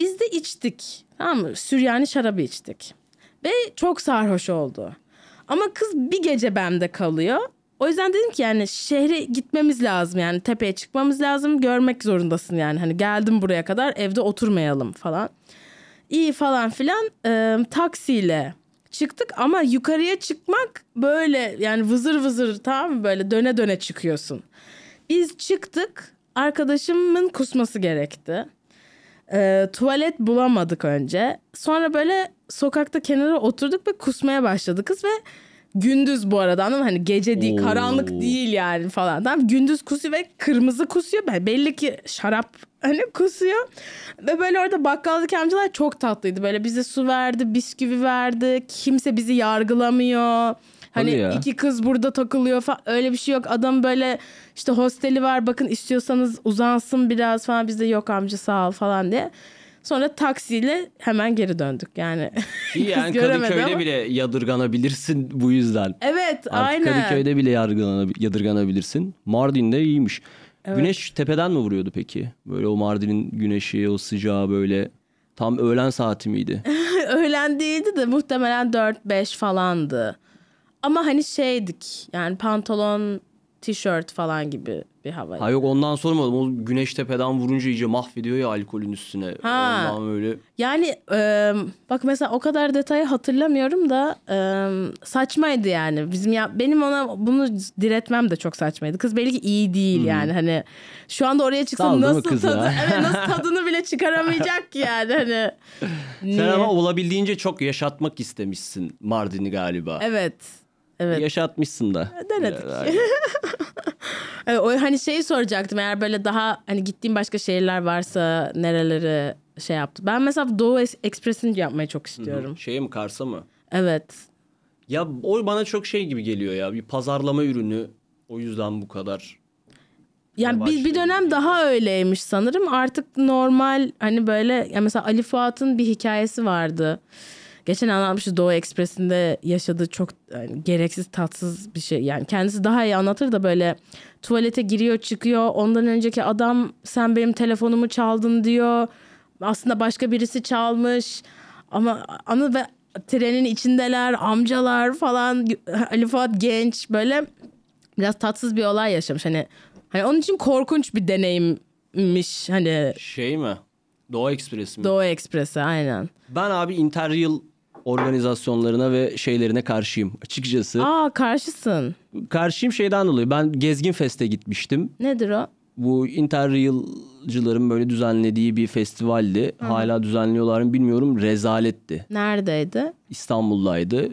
S2: Biz de içtik. Tamam mı? Süryani şarabı içtik. Ve çok sarhoş oldu. Ama kız bir gece bende kalıyor. O yüzden dedim ki yani şehre gitmemiz lazım. Yani tepeye çıkmamız lazım. Görmek zorundasın yani. Hani geldim buraya kadar evde oturmayalım falan. İyi falan filan. Ee, taksiyle çıktık ama yukarıya çıkmak böyle yani vızır vızır tamam mı? Böyle döne döne çıkıyorsun. Biz çıktık. Arkadaşımın kusması gerekti. Ee, tuvalet bulamadık önce. Sonra böyle sokakta kenara oturduk ve kusmaya başladı kız ve gündüz bu arada anladın mı? Hani gece değil,
S3: Oo.
S2: karanlık değil yani falan. Tamam gündüz kusuyor ve kırmızı kusuyor. Yani belli ki şarap hani kusuyor. Ve böyle orada bakkaldık amcalar çok tatlıydı. Böyle bize su verdi, bisküvi verdi. Kimse bizi yargılamıyor. Hani
S3: Hadi ya.
S2: iki kız burada takılıyor falan öyle bir şey yok. Adam böyle işte hosteli var bakın istiyorsanız uzansın biraz falan bizde yok amca sağ ol falan diye. Sonra taksiyle hemen geri döndük yani.
S3: Ki yani
S2: Kız göremedi
S3: Kadıköy'de
S2: ama.
S3: bile yadırganabilirsin bu yüzden.
S2: evet
S3: Artık
S2: aynen.
S3: Kadıköy'de bile yargılana- yadırganabilirsin. Mardin'de iyiymiş. Güneş tepeden mi vuruyordu peki? Böyle o Mardin'in güneşi, o sıcağı böyle tam öğlen saati miydi?
S2: Öğlen değildi de muhtemelen 4-5 falandı. Ama hani şeydik yani pantolon, tişört falan gibi bir hava.
S3: ha yok ondan sormadım. O güneş tepeden vurunca iyice mahvediyor ya alkolün üstüne.
S2: Ha.
S3: Ondan böyle
S2: Yani e, bak mesela o kadar detayı hatırlamıyorum da e, saçmaydı yani. Bizim ya benim ona bunu diretmem de çok saçmaydı. Kız belli ki iyi değil yani hani şu anda oraya
S3: Sağ ol
S2: çıksa
S3: değil mi
S2: nasıl
S3: kızı?
S2: tadı evet nasıl tadını bile çıkaramayacak ki yani hani.
S3: Sen
S2: Niye?
S3: ama olabildiğince çok yaşatmak istemişsin Mardin'i galiba.
S2: Evet. Evet.
S3: Yaşatmışsın da.
S2: Denedik.
S3: Biraz-
S2: E, o hani şeyi soracaktım eğer böyle daha hani gittiğim başka şehirler varsa nereleri şey yaptı. Ben mesela Doğu Es- Ekspresi'ni yapmayı çok istiyorum.
S3: Şeye Şey mi Kars'a mı?
S2: Evet.
S3: Ya o bana çok şey gibi geliyor ya. Bir pazarlama ürünü. O yüzden bu kadar.
S2: Yani bir,
S3: Yavaş
S2: bir dönem
S3: yürüyüş.
S2: daha öyleymiş sanırım. Artık normal hani böyle ya mesela Ali Fuat'ın bir hikayesi vardı. Geçen anlatmıştı Doğu Ekspresi'nde yaşadığı çok yani gereksiz tatsız bir şey. Yani kendisi daha iyi anlatır da böyle tuvalete giriyor çıkıyor. Ondan önceki adam sen benim telefonumu çaldın diyor. Aslında başka birisi çalmış. Ama anı ve trenin içindeler amcalar falan Ali Fuat genç böyle biraz tatsız bir olay yaşamış. Hani hani onun için korkunç bir deneyimmiş hani
S3: Şey mi? Doğu Ekspresi mi?
S2: Doğu Ekspresi aynen.
S3: ben abi interrail organizasyonlarına ve şeylerine karşıyım açıkçası.
S2: Aa karşısın.
S3: Karşıyım şeyden dolayı. Ben Gezgin Fest'e gitmiştim.
S2: Nedir o?
S3: bu interrail'cıların böyle düzenlediği bir festivaldi. Hala düzenliyorlar mı bilmiyorum. Rezaletti.
S2: Neredeydi?
S3: İstanbul'daydı.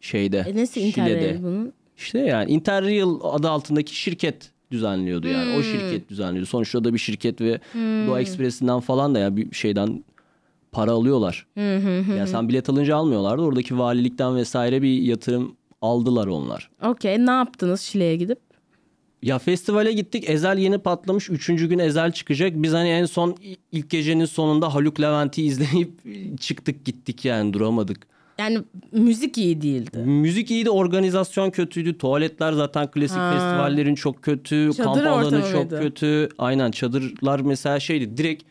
S3: Şeyde.
S2: E, nasıl
S3: Şile'de.
S2: interrail bunun?
S3: İşte yani Interrail adı altındaki şirket düzenliyordu yani. O şirket düzenliyordu. Sonuçta da bir şirket ve Doğu Ekspresi'nden falan da ya bir şeyden para alıyorlar. ya sen bilet alınca almıyorlardı. Oradaki valilikten vesaire bir yatırım aldılar onlar.
S2: Okey ne yaptınız Şile'ye gidip?
S3: Ya festivale gittik. Ezel yeni patlamış. Üçüncü gün Ezel çıkacak. Biz hani en son ilk gecenin sonunda Haluk Levent'i izleyip çıktık gittik yani duramadık.
S2: Yani müzik iyi değildi.
S3: Müzik iyiydi, organizasyon kötüydü. Tuvaletler zaten klasik
S2: Ha.
S3: festivallerin çok kötü.
S2: Çadır
S3: kamp alanı
S2: ortamı
S3: çok
S2: mıydı?
S3: kötü. Aynen çadırlar mesela şeydi. Direkt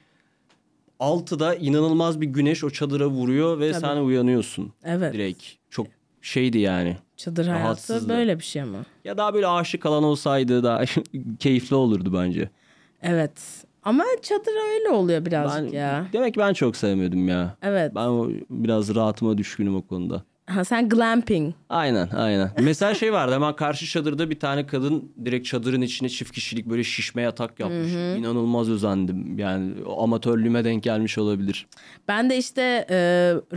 S3: 6'da inanılmaz bir güneş o çadıra vuruyor ve sen uyanıyorsun.
S2: Evet.
S3: Direkt çok şeydi yani.
S2: Çadır hayatı
S3: Rahatsızdı.
S2: böyle bir şey mi?
S3: Ya daha böyle aşık alan olsaydı daha keyifli olurdu bence.
S2: Evet. Ama çadır öyle oluyor
S3: Ben,
S2: birazcık ya.
S3: Demek ki ben çok sevmedim ya.
S2: Evet.
S3: Ben o- biraz rahatıma düşkünüm o konuda.
S2: Ha, sen glamping.
S3: Aynen aynen. Mesela şey vardı hemen karşı çadırda bir tane kadın direkt çadırın içine çift kişilik böyle şişme yatak yapmış. İnanılmaz özendim. Yani o amatörlüğüme denk gelmiş olabilir.
S2: Ben de işte e,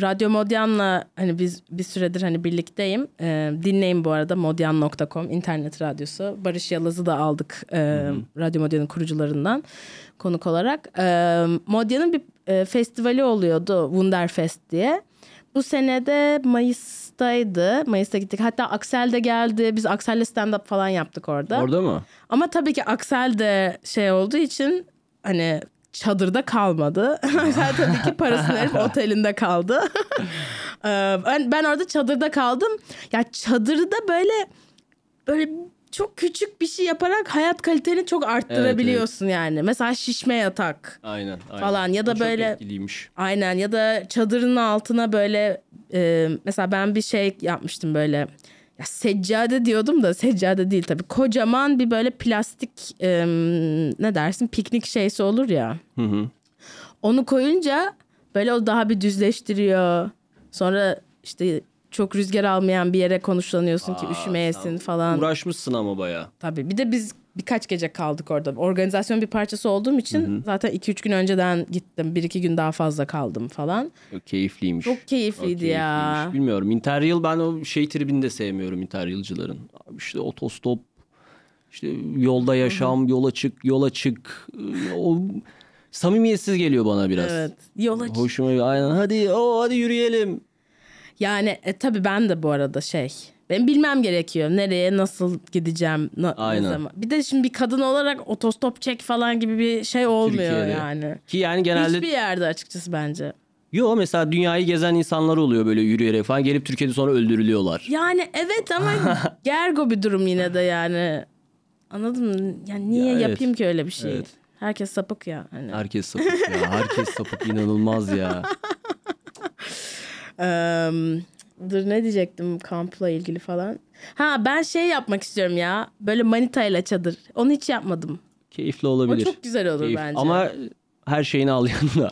S2: Radyo Modyan'la hani biz bir süredir hani birlikteyim. E, dinleyin bu arada modyan.com internet radyosu. Barış Yalaz'ı da aldık e, Radyo Modyan'ın kurucularından konuk olarak. E, Modyan'ın bir e, festivali oluyordu Wunderfest diye. Bu senede Mayıs'taydı. Mayıs'ta gittik. Hatta Aksel de geldi. Biz Aksel'le stand-up falan yaptık orada.
S3: Orada mı?
S2: Ama tabii ki Aksel de şey olduğu için hani çadırda kalmadı. Aksel tabii ki parasını verip otelinde kaldı. Ee, ben, ben orada çadırda kaldım. Ya çadırda böyle böyle çok küçük bir şey yaparak hayat kaliteni çok arttırabiliyorsun yani. Mesela şişme yatak.
S3: Aynen. aynen.
S2: Falan ya da
S3: O çok
S2: böyle-
S3: etkiliymiş.
S2: Aynen ya da çadırın altına böyle e, mesela ben bir şey yapmıştım böyle ya seccade diyordum da seccade değil tabii. Kocaman bir böyle plastik e, ne dersin piknik şeysi olur ya. Onu koyunca böyle o daha bir düzleştiriyor. Sonra işte çok rüzgar almayan bir yere konuşlanıyorsun ki
S3: Aa,
S2: üşümeyesin
S3: sen
S2: falan.
S3: Uğraşmışsın ama baya.
S2: Tabii bir de biz birkaç gece kaldık orada. Organizasyon bir parçası olduğum için zaten 2-3 gün önceden gittim. 1-2 gün daha fazla kaldım falan.
S3: Keyifliymiş.
S2: Çok keyifliydi
S3: O
S2: ya.
S3: keyifliymiş. Bilmiyorum. Interrail ben o şey tribini de sevmiyorum Interrail'cıların. İşte otostop, işte yolda yaşam, yola çık, yola çık. Ee, O samimiyetsiz geliyor bana biraz.
S2: Evet. Yola çık-
S3: Hoşuma gidiyor. Aynen. Hadi o hadi yürüyelim.
S2: Yani e, tabii ben de bu arada şey. Ben bilmem gerekiyor. Nereye nasıl gideceğim. na- ne
S3: Aynen.
S2: zaman. Bir de şimdi bir kadın olarak otostop çek falan gibi bir şey olmuyor
S3: Türkiye'de.
S2: yani.
S3: Ki yani genelde
S2: Hiçbir yerde açıkçası bence.
S3: yo mesela dünyayı gezen insanlar oluyor böyle yürüyerek falan gelip Türkiye'de sonra öldürülüyorlar.
S2: Yani evet ama gergo bir durum yine de yani. Anladın mı? Yani niye
S3: Ya evet.
S2: yapayım ki öyle bir şeyi?
S3: Evet.
S2: Herkes sapık ya. Hani.
S3: Herkes sapık ya. Herkes sapık inanılmaz ya.
S2: Eee, dur ne diyecektim kampla ilgili falan. Ha ben şey yapmak istiyorum ya. Böyle manitayla çadır. Onu hiç yapmadım.
S3: Keyifli olabilir.
S2: O çok güzel olur bence.
S3: Ama her şeyini al yanına.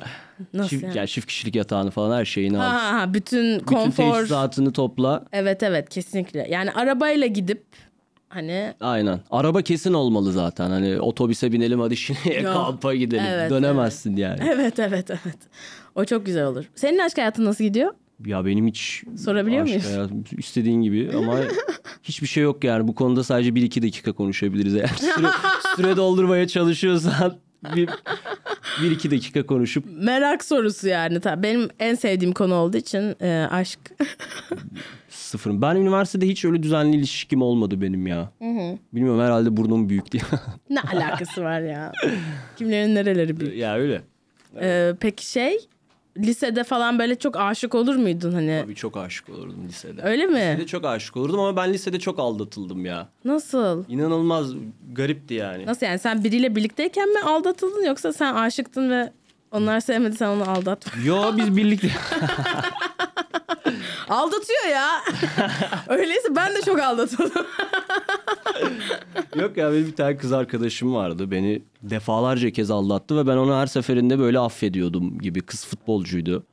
S2: Nasıl
S3: çift,
S2: yani?
S3: yani çift kişilik yatağını falan her şeyini
S2: Ha,
S3: al.
S2: ha, ha, bütün
S3: Bütün
S2: konfor.
S3: teçhizatını topla.
S2: Evet evet kesinlikle. Yani arabayla gidip hani
S3: Aynen. Araba kesin olmalı zaten. Hani otobüse binelim hadi şimdi
S2: Yok.
S3: kampa gidelim.
S2: Evet,
S3: Dönemezsin yani.
S2: evet evet evet. O çok güzel olur. Senin aşk hayatın nasıl gidiyor?
S3: Ya benim hiç
S2: Sorabiliyor
S3: aşk
S2: muyuz?
S3: hayatım istediğin gibi ama hiçbir şey yok yani. Bu konuda sadece 1-2 dakika konuşabiliriz. Eğer süre, süre doldurmaya çalışıyorsan bir, 1-2 dakika konuşup
S2: Merak sorusu yani. Tabii benim en sevdiğim konu olduğu için e, aşk.
S3: sıfırım. Ben üniversitede hiç öyle düzenli ilişkim olmadı benim ya. Bilmiyorum herhalde burnum büyük diye.
S2: ne alakası var ya? Kimlerin nereleri büyük.
S3: ya öyle.
S2: E, peki şey lisede falan böyle çok aşık olur muydun hani?
S3: Tabii çok aşık olurdum lisede.
S2: Öyle mi?
S3: Lisede çok aşık olurdum ama ben lisede çok aldatıldım ya.
S2: Nasıl?
S3: İnanılmaz garipti yani.
S2: Nasıl yani sen biriyle birlikteyken mi aldatıldın yoksa sen aşıktın ve onlar sevmedi sen onu aldatma.
S3: Yo biz birlikte
S2: Aldatıyor ya. Öyleyse ben de çok aldatıldım.
S3: Yok ya benim bir tane kız arkadaşım vardı. Beni defalarca kez aldattı ve ben onu her seferinde böyle affediyordum gibi. Kız futbolcuydu.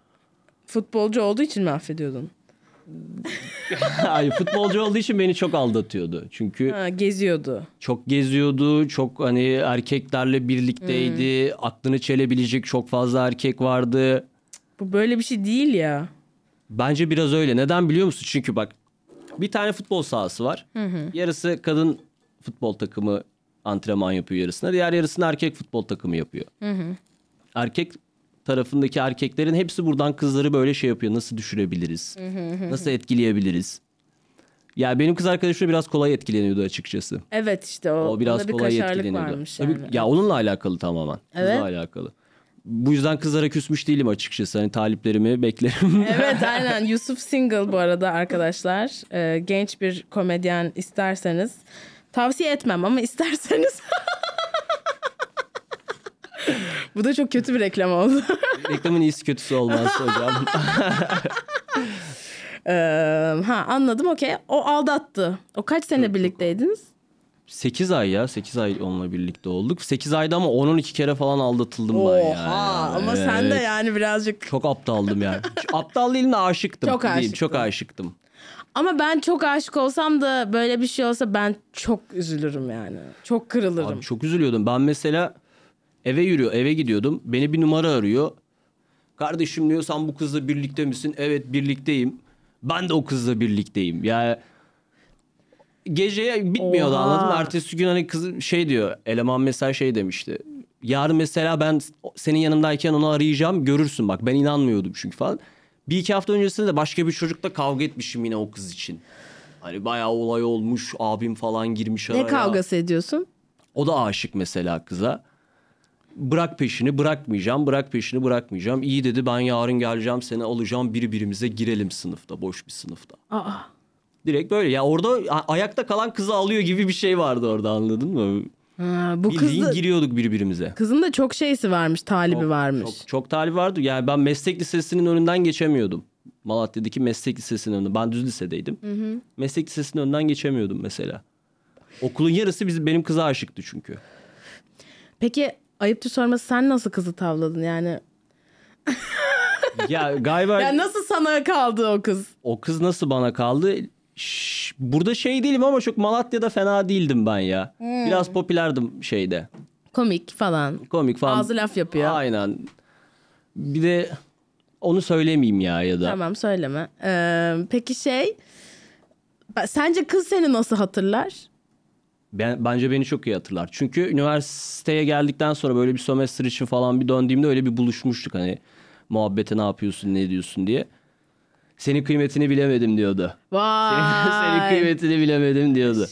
S2: Futbolcu olduğu için mi affediyordun?
S3: Hayır futbolcu olduğu için beni çok aldatıyordu. Çünkü
S2: Ha, geziyordu.
S3: çok geziyordu. Çok hani erkeklerle birlikteydi. Aklını çelebilecek çok fazla erkek vardı.
S2: Bu böyle bir şey değil ya.
S3: Bence biraz öyle. Neden biliyor musun? Çünkü bak bir tane futbol sahası var. Yarısı kadın futbol takımı antrenman yapıyor yarısına. Diğer yarısını erkek futbol takımı yapıyor. Erkek tarafındaki erkeklerin hepsi buradan kızları böyle şey yapıyor. Nasıl düşürebiliriz? Nasıl etkileyebiliriz? Ya benim kız arkadaşım da biraz kolay etkileniyordu açıkçası.
S2: Evet işte o.
S3: O biraz
S2: onda bir
S3: kolay
S2: kaşarlık
S3: etkileniyordu.
S2: varmış
S3: Tabii,
S2: yani.
S3: Ya onunla alakalı tamamen. Kızla
S2: Evet.
S3: alakalı. Bu yüzden kızlara küsmüş değilim açıkçası. Hani taliplerimi beklerim.
S2: Evet aynen Yusuf Single bu arada arkadaşlar. Ee, genç bir komedyen isterseniz. Tavsiye etmem ama isterseniz. bu da çok kötü bir reklam oldu.
S3: Reklamın iyisi kötüsü olmaz hocam.
S2: Ee, ha anladım okey. O aldattı. O kaç sene birlikteydiniz?
S3: 8 ay ya. 8 ay onunla birlikte olduk. 8 ayda ama 10-12 kere falan aldatıldım ben ya.
S2: ama
S3: Evet.
S2: sen de yani birazcık
S3: Çok aptaldım yani. Aptal değilim de aşıktım.
S2: Çok
S3: Değil,
S2: aşıktın.
S3: çok aşıktım.
S2: Ama ben çok aşık olsam da böyle bir şey olsa ben çok üzülürüm yani. Çok kırılırım.
S3: Abi çok üzülüyordum. Ben mesela eve yürüyor, eve gidiyordum. Beni bir numara arıyor. Kardeşim diyor sen bu kızla birlikte misin? Evet birlikteyim. Ben de o kızla birlikteyim. Yani geceye bitmiyordu
S2: Oha.
S3: anladın mı? Ertesi gün hani kız şey diyor. Eleman mesela şey demişti. Yarın mesela ben senin yanındayken onu arayacağım görürsün bak. Ben inanmıyordum çünkü falan. Bir iki hafta öncesinde de başka bir çocukla kavga etmişim yine o kız için. Hani bayağı olay olmuş abim falan girmiş araya.
S2: ne kavgası ediyorsun?
S3: O da aşık mesela kıza. Bırak peşini bırakmayacağım, bırak peşini bırakmayacağım. İyi dedi ben yarın geleceğim seni alacağım birbirimize girelim sınıfta, boş bir sınıfta.
S2: Aa.
S3: Direkt böyle ya orada a- ayakta kalan kızı alıyor gibi bir şey vardı orada anladın mı?
S2: Ha, bu
S3: Bildiğin
S2: kız da-
S3: giriyorduk birbirimize.
S2: kızın da çok şeysi varmış, talibi varmış.
S3: Çok, çok talip vardı. Yani ben meslek lisesinin önünden geçemiyordum. Malatya'daki meslek lisesinin önünden. Ben düz lisedeydim. Meslek lisesinin önünden geçemiyordum mesela. Okulun yarısı biz, benim kıza aşıktı çünkü.
S2: Peki ayıptır sorması sen nasıl kızı tavladın yani?
S3: Ya galiba...
S2: Ya nasıl sana kaldı o kız?
S3: O kız nasıl bana kaldı? Şş, burada şey değilim ama çok Malatya'da fena değildim ben ya.
S2: Hmm.
S3: Biraz popülerdim şeyde.
S2: Komik falan.
S3: Komik falan.
S2: Ağzı laf yapıyor.
S3: Aynen. Bir de onu söylemeyeyim ya ya da.
S2: Tamam söyleme. Ee, peki şey ben- sence kız seni nasıl hatırlar?
S3: Ben, bence beni çok iyi hatırlar. Çünkü üniversiteye geldikten sonra böyle bir semester için falan bir döndüğümde öyle bir buluşmuştuk hani muhabbete ne yapıyorsun ne diyorsun diye. Senin kıymetini bilemedim diyordu. Senin
S2: Vay.
S3: kıymetini bilemedim diyordu.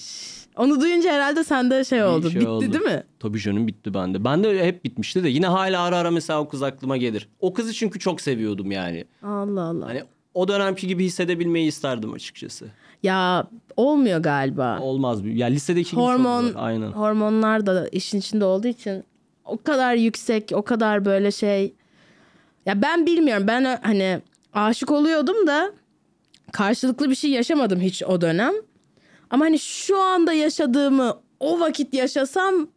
S2: Onu duyunca herhalde sende şey oldu.
S3: şey
S2: Bitti
S3: oldu.
S2: değil mi?
S3: Tabii canım bitti bende. Bende hep bitmişti de yine hala ara ara mesela o kız aklıma gelir. O kızı çünkü çok seviyordum yani.
S2: Allah Allah.
S3: Hani o dönemki gibi hissedebilmeyi isterdim açıkçası.
S2: Ya olmuyor galiba.
S3: Olmaz. bir- Ya lisedeki gibi
S2: Hormon
S3: sorunlar, Aynen.
S2: hormonlar da işin içinde olduğu için o kadar yüksek, o kadar böyle şey. Ya ben bilmiyorum. Ben ö- hani aşık oluyordum da karşılıklı bir şey yaşamadım hiç o dönem. Ama hani şu anda yaşadığımı o vakit yaşasam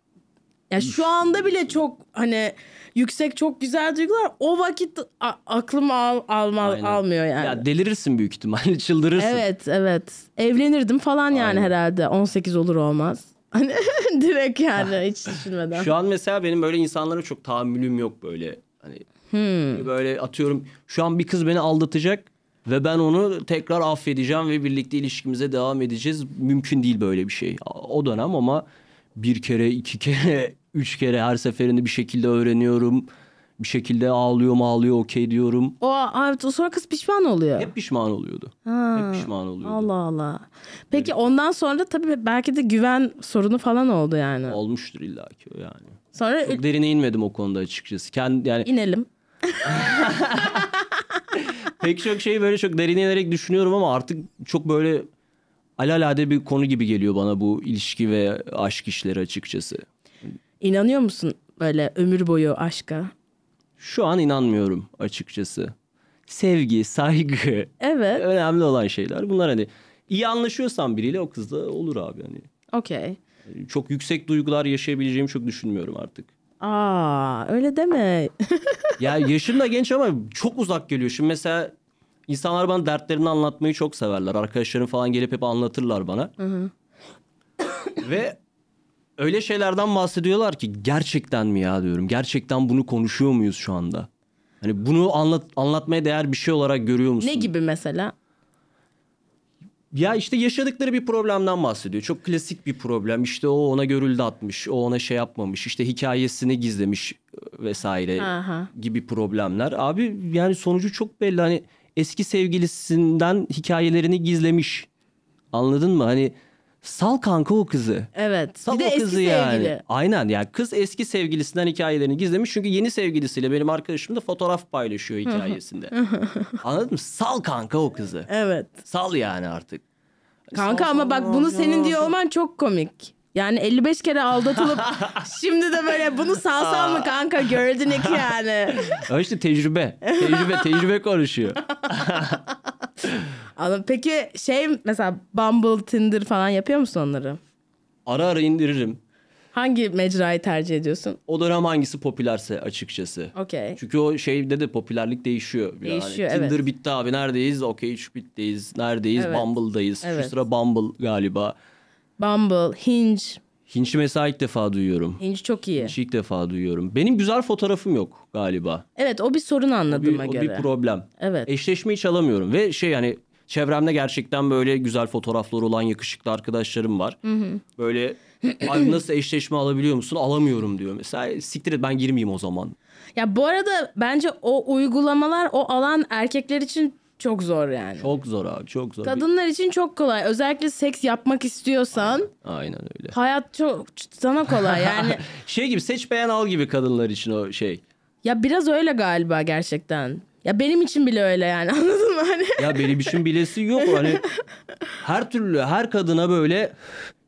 S2: ya şu anda bile çok hani yüksek çok güzel duygular o vakit a- aklım al, alma-
S3: Aynen.
S2: almıyor yani.
S3: Ya delirirsin büyük ihtimalle çıldırırsın.
S2: Evet evet. Evlenirdim falan yani
S3: Aynen.
S2: herhalde. 18 olur olmaz. Hani direkt yani hiç düşünmeden.
S3: Ah. Şu an mesela benim böyle insanlara çok tahammülüm yok böyle. Hani böyle atıyorum şu an bir kız beni aldatacak ve ben onu tekrar affedeceğim ve birlikte ilişkimize devam edeceğiz. Mümkün değil böyle bir şey. O dönem ama bir kere, iki kere, üç kere her seferinde bir şekilde öğreniyorum. Bir şekilde ağlıyorum, ağlıyor, okey diyorum.
S2: O evet, o sonra kız pişman oluyor.
S3: Hep pişman oluyordu.
S2: Ha,
S3: Hep pişman oluyordu.
S2: Allah Allah. Peki ondan sonra tabii belki de güven sorunu falan oldu yani.
S3: Olmuştur illaki o yani.
S2: Sonra
S3: Çok derine inmedim o konuda açıkçası. Kendi yani
S2: inelim.
S3: Pek çok şeyi böyle çok derine inerek düşünüyorum ama artık çok böyle alalade bir konu gibi geliyor bana bu ilişki ve aşk işleri açıkçası.
S2: İnanıyor musun böyle ömür boyu aşka?
S3: Şu an inanmıyorum açıkçası. Sevgi, saygı,
S2: Evet.
S3: önemli olan şeyler. Bunlar hani iyi anlaşıyorsan biriyle o kız da olur abi hani.
S2: Okey.
S3: Çok yüksek duygular yaşayabileceğimi çok düşünmüyorum artık.
S2: Aa öyle deme.
S3: Ya yaşım da genç ama çok uzak geliyor. Şimdi mesela insanlar bana dertlerini anlatmayı çok severler. Arkadaşlarım falan gelip hep anlatırlar bana. Ve öyle şeylerden bahsediyorlar ki gerçekten mi ya diyorum. Gerçekten bunu konuşuyor muyuz şu anda? Hani bunu anlat anlatmaya değer bir şey olarak görüyor musun?
S2: ne gibi mesela?
S3: Ya işte yaşadıkları bir problemden bahsediyor. Çok klasik bir problem. İşte o ona görüldü atmış, o ona şey yapmamış, işte hikayesini gizlemiş vesaire
S2: Aha.
S3: gibi problemler. Abi yani sonucu çok belli. Hani eski sevgilisinden hikayelerini gizlemiş. Anladın mı? Hani sal kanka o kızı.
S2: Evet.
S3: Sal
S2: bir de
S3: o
S2: eski
S3: kızı
S2: sevgili.
S3: yani. Aynen yani kız eski sevgilisinden hikayelerini gizlemiş. Çünkü yeni sevgilisiyle benim arkadaşım da fotoğraf paylaşıyor hikayesinde. Anladın mı? Sal kanka o kızı.
S2: Evet.
S3: Sal yani artık.
S2: Kanka
S3: Sal,
S2: ama
S3: sal,
S2: bak
S3: sal,
S2: bunu
S3: sal,
S2: senin
S3: sal.
S2: diyor olman çok komik. Yani 55 kere aldatılıp şimdi de böyle bunu salsam mı kanka gördün ki yani.
S3: Ya işte tecrübe. Tecrübe, tecrübe konuşuyor.
S2: Ama peki şey mesela Bumble, Tinder falan yapıyor musun onları?
S3: Ara ara indiririm.
S2: Hangi mecrayı tercih ediyorsun?
S3: O dönem hangisi popülerse açıkçası.
S2: Okey.
S3: Çünkü o şeyde de popülerlik değişiyor. biraz.
S2: Değişiyor,
S3: Tinder
S2: evet.
S3: bitti abi neredeyiz? Okey Şubit'teyiz. Neredeyiz?
S2: Evet.
S3: Bumble'dayız.
S2: Evet.
S3: Şu sıra Bumble galiba.
S2: Bumble, Hinge.
S3: Hinge'i mesela ilk defa duyuyorum.
S2: Hinge çok iyi.
S3: Hinge'i ilk defa duyuyorum. Benim güzel fotoğrafım yok galiba.
S2: Evet o bir sorun
S3: O bir,
S2: anladığıma
S3: o bir
S2: göre.
S3: problem.
S2: Evet.
S3: Eşleşmeyi çalamıyorum ve şey yani çevremde gerçekten böyle güzel fotoğrafları olan yakışıklı arkadaşlarım var. Böyle abi nasıl eşleşme alabiliyor musun? Alamıyorum diyor. Mesela "E, siktir et ben girmeyeyim o zaman.
S2: Ya bu arada bence o uygulamalar o alan erkekler için çok zor yani.
S3: Çok zor abi çok zor.
S2: Kadınlar için çok kolay. Özellikle seks yapmak istiyorsan
S3: Aynen öyle.
S2: hayat çok sana kolay yani.
S3: Şey gibi seç beğen al gibi kadınlar için o şey.
S2: ya biraz öyle galiba gerçekten. Ya benim için bile öyle yani anladın mı hani?
S3: Ya benim için bilesi yok hani her türlü her kadına böyle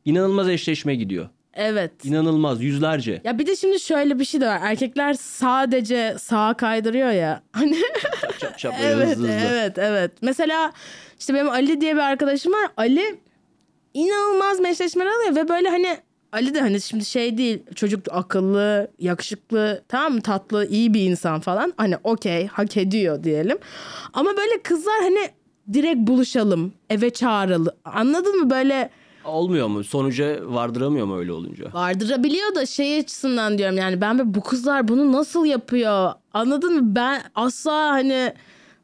S3: inanılmaz eşleşme gidiyor.
S2: Evet.
S3: İnanılmaz yüzlerce.
S2: Ya bir de şimdi şöyle bir şey de var. Erkekler sadece sağa kaydırıyor ya. Hani
S3: Çap çap böyle
S2: evet
S3: hızlı hızlı.
S2: evet evet. Mesela işte benim Ali diye bir arkadaşım var. Ali inanılmaz meşleşmeler alıyor ve böyle hani Ali de hani şimdi şey değil çocuk akıllı, yakışıklı, tamam mı tatlı, iyi bir insan falan. Hani okey hak ediyor diyelim. Ama böyle kızlar hani direkt buluşalım, eve çağıralım. Anladın mı böyle
S3: Olmuyor mu? Sonuca vardıramıyor mu öyle olunca?
S2: Vardırabiliyor da şey açısından diyorum yani ben böyle bu kızlar bunu nasıl yapıyor anladın mı? Ben asla hani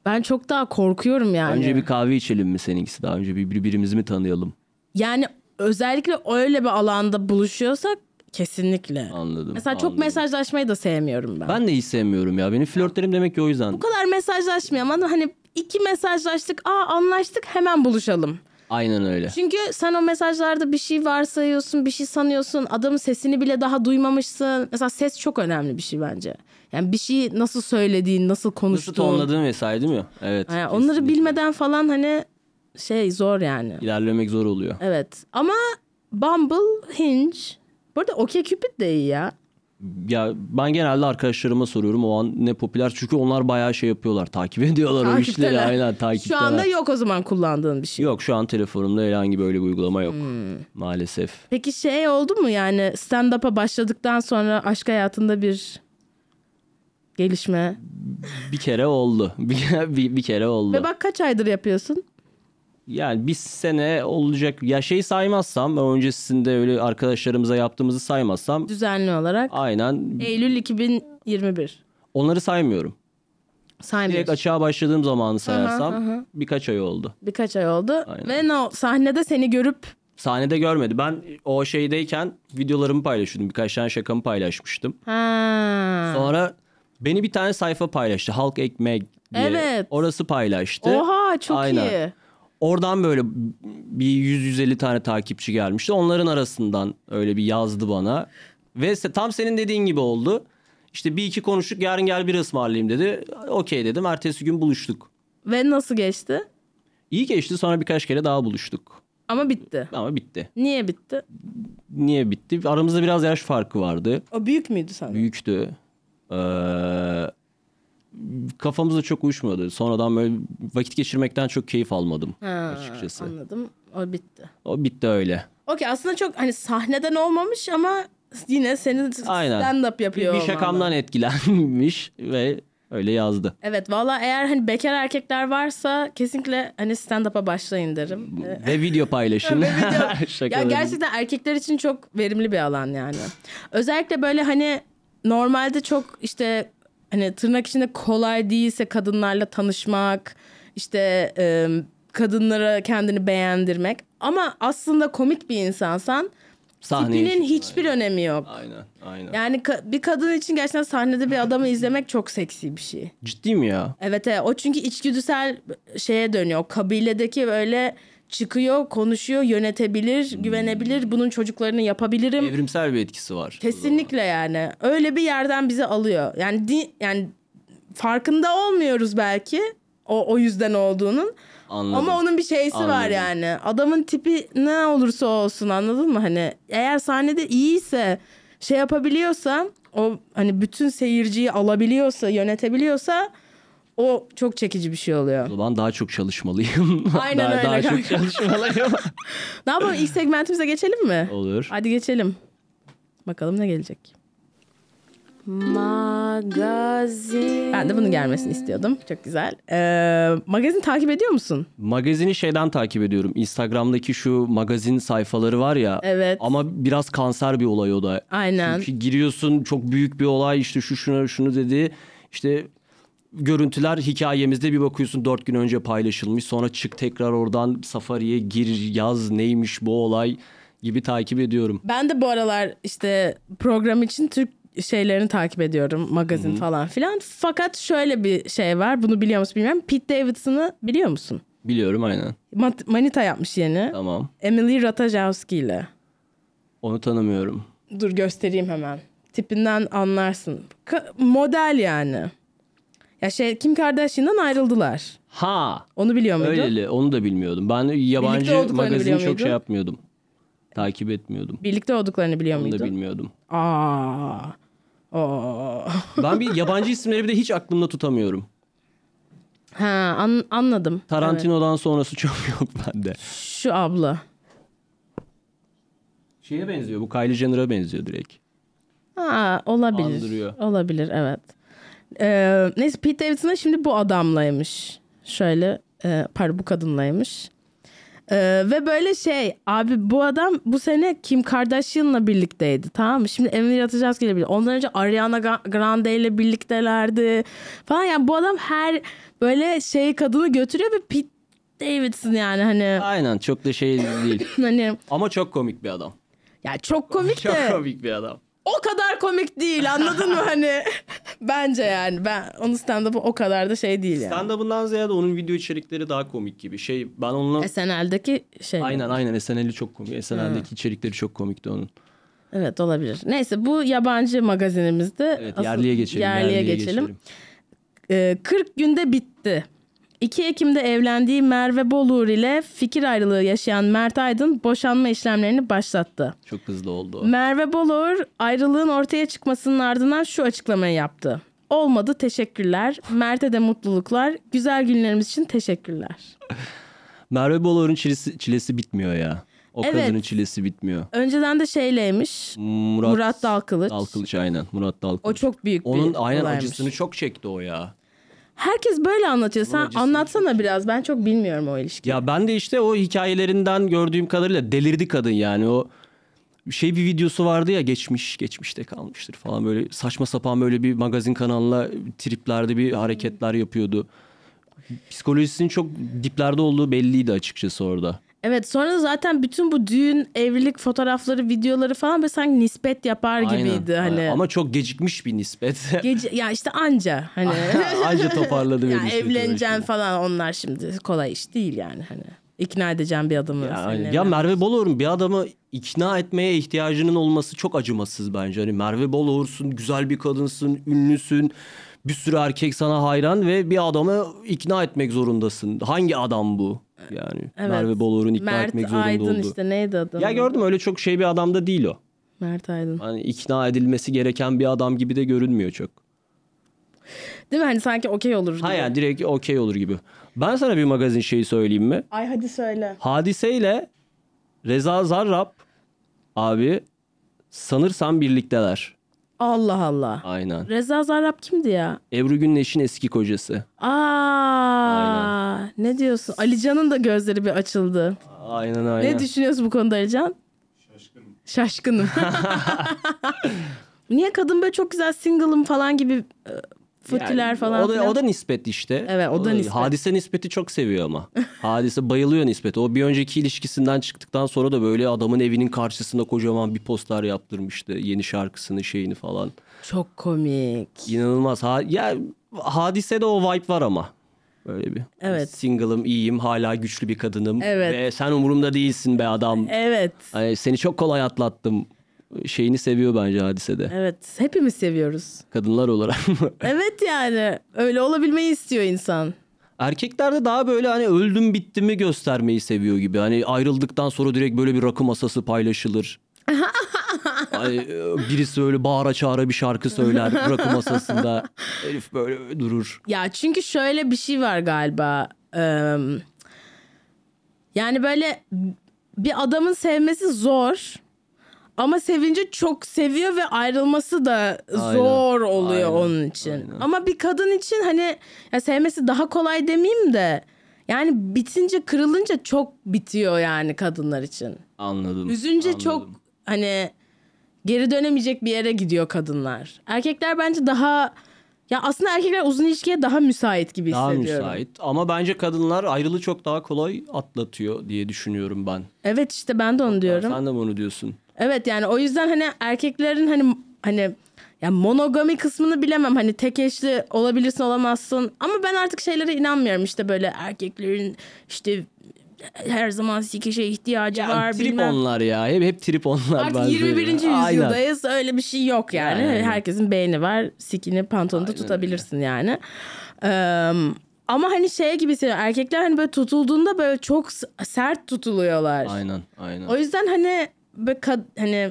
S2: ben çok daha korkuyorum yani.
S3: Önce bir kahve içelim mi seninkisi daha önce bir birbirimizi mi tanıyalım?
S2: Yani özellikle öyle bir alanda buluşuyorsak kesinlikle.
S3: Anladım.
S2: Mesela çok
S3: anladım.
S2: mesajlaşmayı da sevmiyorum ben.
S3: Ben de hiç sevmiyorum ya. Benim flörtlerim demek ki o yüzden.
S2: Bu kadar mesajlaşmayayım ama hani iki mesajlaştık aa anlaştık hemen buluşalım.
S3: Aynen öyle.
S2: Çünkü sen o mesajlarda bir şey varsayıyorsun, bir şey sanıyorsun. Adamın sesini bile daha duymamışsın. Mesela ses çok önemli bir şey bence. Yani bir şeyi nasıl söylediğin, nasıl
S3: Nasıl
S2: konuştuğun.
S3: tonladığın vesaire değil mi? Evet.
S2: Yani
S3: kesinlikle.
S2: onları bilmeden falan hani şey zor yani.
S3: İlerlemek zor oluyor.
S2: Evet ama Bumble, Hinge. Bu arada OkCupid de iyi ya.
S3: Ya ben genelde arkadaşlarıma soruyorum o an ne popüler. Çünkü onlar bayağı şey yapıyorlar. Takip ediyorlar o işleri.
S2: Takipteler.
S3: Aynen takipteler.
S2: Şu anda yok o zaman kullandığın bir şey.
S3: Yok şu an telefonumda herhangi böyle bir uygulama yok.
S2: Hmm.
S3: Maalesef.
S2: Peki şey oldu mu yani stand-up'a başladıktan sonra aşk hayatında bir gelişme?
S3: Bir kere oldu. Bir, bir, bir kere oldu.
S2: Ve bak kaç aydır yapıyorsun?
S3: Yani bir sene olacak. Ya şey saymazsam öncesinde öyle arkadaşlarımıza yaptığımızı saymazsam
S2: Düzenli olarak.
S3: aynen
S2: Eylül 2021.
S3: onları saymıyorum. Direkt
S2: Saymıyorsun.
S3: açığa başladığım zamanı sayarsam birkaç ay oldu.
S2: Birkaç ay oldu.
S3: Aynen.
S2: Ve no, sahnede seni görüp
S3: Sahnede görmedi. Ben o şeydeyken videolarımı paylaşıyordum. Birkaç tane şakamı paylaşmıştım.
S2: ha.
S3: Sonra beni bir tane sayfa paylaştı. Halk Ekmek diye.
S2: Evet.
S3: Orası paylaştı.
S2: Oha çok
S3: Aynen.
S2: iyi.
S3: Oradan böyle bir 100-150 tane takipçi gelmişti. Onların arasından öyle bir yazdı bana. Ve se- tam senin dediğin gibi oldu. İşte bir iki konuştuk yarın gel bir ısmarlayayım dedi. Okey dedim. Ertesi gün buluştuk.
S2: Ve nasıl geçti?
S3: İyi geçti sonra birkaç kere daha buluştuk.
S2: Ama bitti.
S3: Ama bitti.
S2: Niye bitti?
S3: Niye bitti? Aramızda biraz yaş farkı vardı.
S2: O büyük müydü sana?
S3: Büyüktü. Ee, kafamızda çok uyuşmadı. Sonradan böyle vakit geçirmekten çok keyif almadım
S2: Ha,
S3: açıkçası.
S2: Anladım. O bitti.
S3: O bitti öyle.
S2: Okey aslında çok hani sahneden olmamış ama yine senin
S3: Aynen.
S2: stand-up yapıyor
S3: bir
S2: olman
S3: şakamdan etkilenmiş ve öyle yazdı.
S2: Evet valla eğer hani bekar erkekler varsa kesinlikle hani stand-up'a başlayın derim. Ee,
S3: Ve video paylaşın.
S2: ya
S3: Şakalarım.
S2: gerçekten erkekler için çok verimli bir alan yani. Özellikle böyle hani normalde çok işte hani tırnak içinde kolay değilse kadınlarla tanışmak, işte e, kadınlara kendini beğendirmek ama aslında komik bir insansan
S3: Sahneye
S2: tipinin
S3: çık-
S2: hiçbir önemi yok.
S3: Aynen, aynen.
S2: Yani ka- bir kadın için gerçekten sahnede bir adamı izlemek çok seksi bir şey.
S3: Ciddi mi ya?
S2: Evet, evet o çünkü içgüdüsel ıı, şeye dönüyor. O Kabiledeki böyle çıkıyor, konuşuyor, yönetebilir, güvenebilir. Bunun çocuklarını yapabilirim.
S3: Evrimsel bir etkisi var.
S2: Kesinlikle yani. Öyle bir yerden bizi alıyor. Yani di- yani farkında olmuyoruz belki o o yüzden olduğunun.
S3: Anladım.
S2: Ama onun bir şeysi var
S3: Anladım.
S2: yani. Adamın tipi ne olursa olsun anladın mı? Hani eğer sahnede iyiyse, şey yapabiliyorsa, o hani bütün seyirciyi alabiliyorsa, yönetebiliyorsa o çok çekici bir şey oluyor.
S3: O zaman daha çok çalışmalıyım.
S2: Aynen
S3: daha,
S2: öyle
S3: Daha çok
S2: kanka.
S3: çalışmalıyım.
S2: ne yapalım ilk segmentimize geçelim mi?
S3: Olur.
S2: Hadi geçelim. Bakalım ne gelecek.
S1: Magazin.
S2: Ben de bunun gelmesini istiyordum. Çok güzel. Ee, magazin takip ediyor musun?
S3: Magazini şeyden takip ediyorum. Instagram'daki şu magazin sayfaları var ya.
S2: Evet.
S3: Ama biraz kanser bir olay o da.
S2: Aynen.
S3: Çünkü giriyorsun çok büyük bir olay işte şu şunu şunu dedi. İşte görüntüler hikayemizde bir bakıyorsun dört gün önce paylaşılmış. Sonra çık tekrar oradan safariye gir yaz neymiş bu olay gibi takip ediyorum.
S2: Ben de bu aralar işte program için Türk şeylerini takip ediyorum. Magazin falan filan. Fakat şöyle bir şey var. Bunu biliyor musun bilmiyorum. Pete Davidson'ı biliyor musun?
S3: Biliyorum aynen.
S2: Mat- Manita yapmış yeni.
S3: Tamam.
S2: Emily Ratajkowski ile.
S3: Onu tanımıyorum.
S2: Dur göstereyim hemen. Tipinden anlarsın. Ka- model yani. Ya şey Kim Kardashian'dan ayrıldılar.
S3: Ha
S2: Onu biliyor muydun?
S3: öyleli onu da bilmiyordum. Ben
S2: olduklarını
S3: yabancı
S2: biliyor
S3: magazini
S2: muydun?
S3: çok şey yapmıyordum. Takip etmiyordum.
S2: Birlikte olduklarını biliyor
S3: Onu da
S2: muydun?
S3: bilmiyordum.
S2: Aa. Oo.
S3: Ben bir yabancı isimleri bir de hiç aklımda tutamıyorum.
S2: Ha an- anladım.
S3: Tarantino'dan sonrası çok yok bende.
S2: Evet. Şu abla.
S3: Şeye benziyor bu Kylie Jenner'a benziyor direkt.
S2: Ha olabilir.
S3: Andırıyor.
S2: Olabilir evet. Ee, neyse Pete Davidson'a şimdi bu adamlaymış. Şöyle e, pardon bu kadınlaymış. Ee, ve böyle şey abi bu adam bu sene Kim Kardashian'la birlikteydi tamam mı? Şimdi Emily Ratajkowski ile birlikte. Ondan önce Ariana Ga- Grande ile birliktelerdi falan. Yani bu adam her böyle şey kadını götürüyor ve Pete Davidson yani hani
S3: Aynen çok da şey değil.
S2: hani
S3: Ama çok komik bir adam.
S2: ya çok komik de.
S3: Çok komik bir adam.
S2: o kadar komik değil anladın mı hani? Bence yani ben onun stand-up'ı o kadar da şey değil yani.
S3: Stand-up'ından ziyade onun video içerikleri daha komik gibi. Şey ben onunla...
S2: SNL'deki şey.
S3: Aynen aynen SNL'i çok komik. SNL'deki içerikleri çok komikti onun.
S2: Evet olabilir. Neyse bu yabancı magazinimizde.
S3: Evet
S2: asıl-
S3: yerliye geçelim.
S2: Yerliye, geçelim. Ee, 40 günde bitti. 2 Ekim'de evlendiği Merve Bolur ile fikir ayrılığı yaşayan Mert Aydın boşanma işlemlerini başlattı.
S3: Çok hızlı oldu o.
S2: Merve Bolur ayrılığın ortaya çıkmasının ardından şu açıklamayı yaptı. Olmadı teşekkürler. Mert'e de mutluluklar. Güzel günlerimiz için teşekkürler.
S3: Merve Bolor'un çilesi, çilesi bitmiyor ya. O
S2: Evet.
S3: kadının çilesi bitmiyor.
S2: Önceden de şeyleymiş.
S3: Murat,
S2: Murat Dalkılıç.
S3: Dalkılıç aynen. Murat Dalkılıç.
S2: O çok büyük bir
S3: Onun aynen
S2: olaymış.
S3: acısını çok çekti o ya.
S2: Herkes böyle anlatıyor. Sen
S3: acısını
S2: anlatsana biraz. Ben çok bilmiyorum o ilişkiyi.
S3: Ya ben de işte o hikayelerinden gördüğüm kadarıyla delirdi kadın yani o şey bir videosu vardı ya geçmiş geçmişte kalmıştır falan böyle saçma sapan böyle bir magazin kanalına triplerde bir hareketler yapıyordu. Psikolojisinin çok diplerde olduğu belliydi açıkçası orada.
S2: Evet sonra da zaten bütün bu düğün, evlilik fotoğrafları, videoları falan böyle sanki nispet yapar gibiydi
S3: Aynen.
S2: hani.
S3: Ama çok gecikmiş bir nispet.
S2: Gece ya işte anca hani.
S3: Anca toparladı
S2: ya
S3: beni işte
S2: evleneceksin falan onlar şimdi kolay iş değil yani hani. İkna edeceğim bir adamı.
S3: Ya,
S2: seninle
S3: aynen. ya Merve Bolor'un bir adamı ikna etmeye ihtiyacının olması çok acımasız bence. Hani Merve Bolor'sun, güzel bir kadınsın, ünlüsün. Bir sürü erkek sana hayran ve bir adamı ikna etmek zorundasın. Hangi adam bu? Yani
S2: Evet.
S3: Merve Bolor'un ikna
S2: Mert
S3: etmek zorunda
S2: Aydın
S3: olduğu.
S2: işte neydi adamı?
S3: Ya gördüm öyle çok şey bir adam da değil o.
S2: Mert Aydın.
S3: Hani ikna edilmesi gereken bir adam gibi de görünmüyor çok.
S2: Değil mi hani sanki okey olur gibi.
S3: Ha yani direkt okey olur gibi. Ben sana bir magazin şeyi söyleyeyim mi?
S2: Ay hadi söyle.
S3: Hadiseyle Reza Zarrab abi sanırsam birlikteler.
S2: Allah Allah.
S3: Aynen.
S2: Reza Zarrab kimdi ya?
S3: Ebru Gündeş'in eski kocası.
S2: Aa, ne diyorsun? Alican'ın da gözleri bir açıldı.
S3: Aynen aynen.
S2: Ne düşünüyorsun bu konuda Alican? Şaşkınım. Şaşkınım. Niye kadın böyle çok güzel single'ım falan gibi e, futiler
S3: Yani
S2: falan
S3: O da,
S2: filan.
S3: o da nispet işte.
S2: Evet, o da nispet.
S3: Hadise nispeti çok seviyor ama. Hadise bayılıyor nispete. O bir önceki ilişkisinden çıktıktan sonra da böyle adamın evinin karşısında kocaman bir poster yaptırmıştı. Yeni şarkısını şeyini falan.
S2: Çok komik.
S3: İnanılmaz. Ha, ya hadise de o vibe var ama. Böyle bir.
S2: Evet.
S3: Single'ım, iyiyim, hala güçlü bir kadınım.
S2: Evet.
S3: Ve sen umurumda değilsin be adam.
S2: Evet.
S3: Hani seni çok kolay atlattım. Şeyini seviyor bence hadise de.
S2: Evet. Hepimiz seviyoruz.
S3: Kadınlar olarak mı?
S2: Evet yani. Öyle olabilmeyi istiyor insan.
S3: Erkekler de daha böyle hani öldüm bitti mi göstermeyi seviyor gibi. Hani ayrıldıktan sonra direkt böyle bir rakı masası paylaşılır. Ay, e, birisi böyle bağıra çağıra bir şarkı söyler rakı masasında. Elif böyle durur.
S2: Ya çünkü şöyle bir şey var galiba. Eee, yani böyle bir adamın sevmesi zor. Ama sevince çok seviyor ve ayrılması da zor oluyor
S3: aynen,
S2: onun için.
S3: aynen.
S2: Ama bir kadın için hani ya sevmesi daha kolay demeyeyim de yani bitince kırılınca çok bitiyor yani kadınlar için.
S3: Anladım.
S2: Üzünce
S3: anladım.
S2: çok hani geri dönemeyecek bir yere gidiyor kadınlar. Erkekler bence daha ya aslında erkekler uzun ilişkiye daha müsait gibi
S3: daha
S2: hissediyorum.
S3: müsait. Ama bence kadınlar ayrılığı çok daha kolay atlatıyor diye düşünüyorum ben.
S2: Evet işte ben de onu diyorum.
S3: Sen de mi onu diyorsun?
S2: Evet yani o yüzden hani erkeklerin hani hani ya monogami kısmını bilemem hani tek eşli olabilirsin olamazsın ama ben artık şeylere inanmıyorum işte böyle erkeklerin işte her zaman sikişe ihtiyacı
S3: Ya,
S2: var
S3: trip
S2: bilmem.
S3: onlar ya. Hep, hep trip onlar.
S2: Artık
S3: bence.
S2: 21.
S3: Aynen.
S2: yüzyıldayız. Öyle bir şey yok yani.
S3: Aynen.
S2: Herkesin beyni var. Sikini pantolonda
S3: Aynen
S2: tutabilirsin yani. Eee, ama hani şey gibi hissediyorum. Erkekler hani böyle tutulduğunda böyle çok s- sert tutuluyorlar.
S3: Aynen. Aynen.
S2: O yüzden hani böyle kad- hani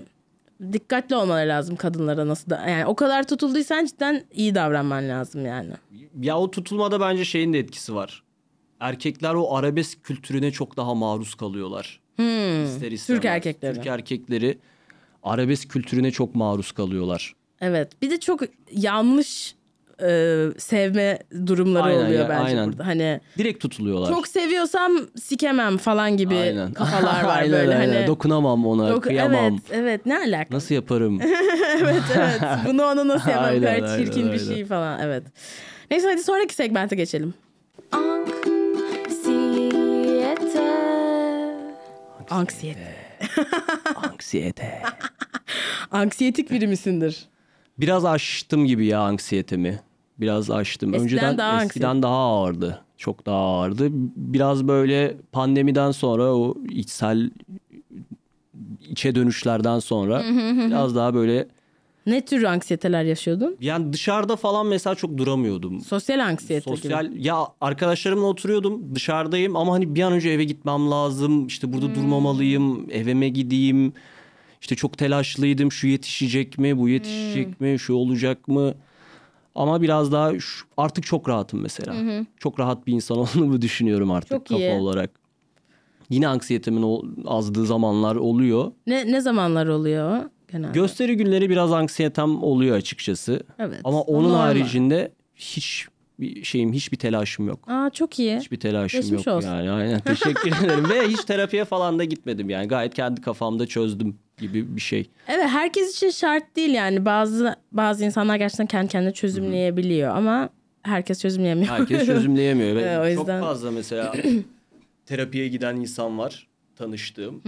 S2: dikkatli olmaları lazım kadınlara nasıl da yani o kadar tutulduysan cidden iyi davranman lazım yani.
S3: Ya o tutulmada bence şeyin de etkisi var. Erkekler o arabesk kültürüne çok daha maruz kalıyorlar. İster istemez.
S2: Hmm. Türk erkekleri.
S3: Türk erkekleri arabesk kültürüne çok maruz kalıyorlar.
S2: Evet. Bir de çok yanlış e, sevme durumları
S3: Aynen
S2: oluyor
S3: ya,
S2: bence
S3: aynen.
S2: burada. Hani
S3: Direkt tutuluyorlar.
S2: çok seviyorsam sikemem falan gibi kafalar var
S3: Aynen,
S2: böyle
S3: aynen.
S2: hani.
S3: Dokunamam ona,
S2: Doku-
S3: kıyamam.
S2: evet, evet ne alaka?
S3: Nasıl yaparım?
S2: evet, evet. Bunu ona nasıl yapar? Bu
S3: Aynen,
S2: kadar çirkin
S3: aynen,
S2: bir
S3: aynen.
S2: şey falan. Evet. Neyse hadi sonraki segmente geçelim.
S1: Anksiyete.
S2: Anksiyete.
S3: Anksiyete.
S2: Anksiyetik biri misindir?
S3: Biraz aştım gibi ya anksiyetemi. Biraz aştım.
S2: Eskiden
S3: Önceden
S2: daha
S3: eskiden daha ağırdı. Çok daha ağırdı. Biraz böyle pandemiden sonra o içsel içe dönüşlerden sonra biraz daha böyle
S2: Ne tür anksiyeteler yaşıyordun?
S3: yani dışarıda falan mesela çok duramıyordum.
S2: Sosyal anksiyete gibi.
S3: Sosyal ya arkadaşlarımla oturuyordum dışarıdayım ama hani bir an önce eve gitmem lazım işte burada
S2: Hmm.
S3: durmamalıyım evime gideyim işte çok telaşlıydım şu yetişecek mi bu yetişecek
S2: Hmm.
S3: mi şu olacak mı ama biraz daha şu- artık çok rahatım mesela çok rahat bir insan olduğumu düşünüyorum artık
S2: Çok
S3: kafa
S2: iyi.
S3: olarak yine anksiyetemin o- azdığı zamanlar oluyor
S2: Ne ne zamanlar oluyor o genelde?
S3: gösteri günleri biraz anksiyetem oluyor açıkçası
S2: Evet.
S3: ama onun
S2: Normal.
S3: haricinde hiç bir şeyim hiçbir telaşım yok
S2: Aa çok iyi.
S3: Hiçbir telaşım
S2: Geçmiş
S3: yok
S2: olsun.
S3: yani. Aynen teşekkür ederim. Ve hiç terapiye falan da gitmedim yani. Gayet kendi kafamda çözdüm gibi bir şey.
S2: Evet herkes için şart değil yani. Bazı bazı insanlar gerçekten kendi kendine çözümleyebiliyor ama herkes çözümleyemiyor.
S3: Herkes çözümleyemiyor. Ve
S2: Evet, o yüzden.
S3: Çok fazla mesela terapiye giden insan var tanıştığım.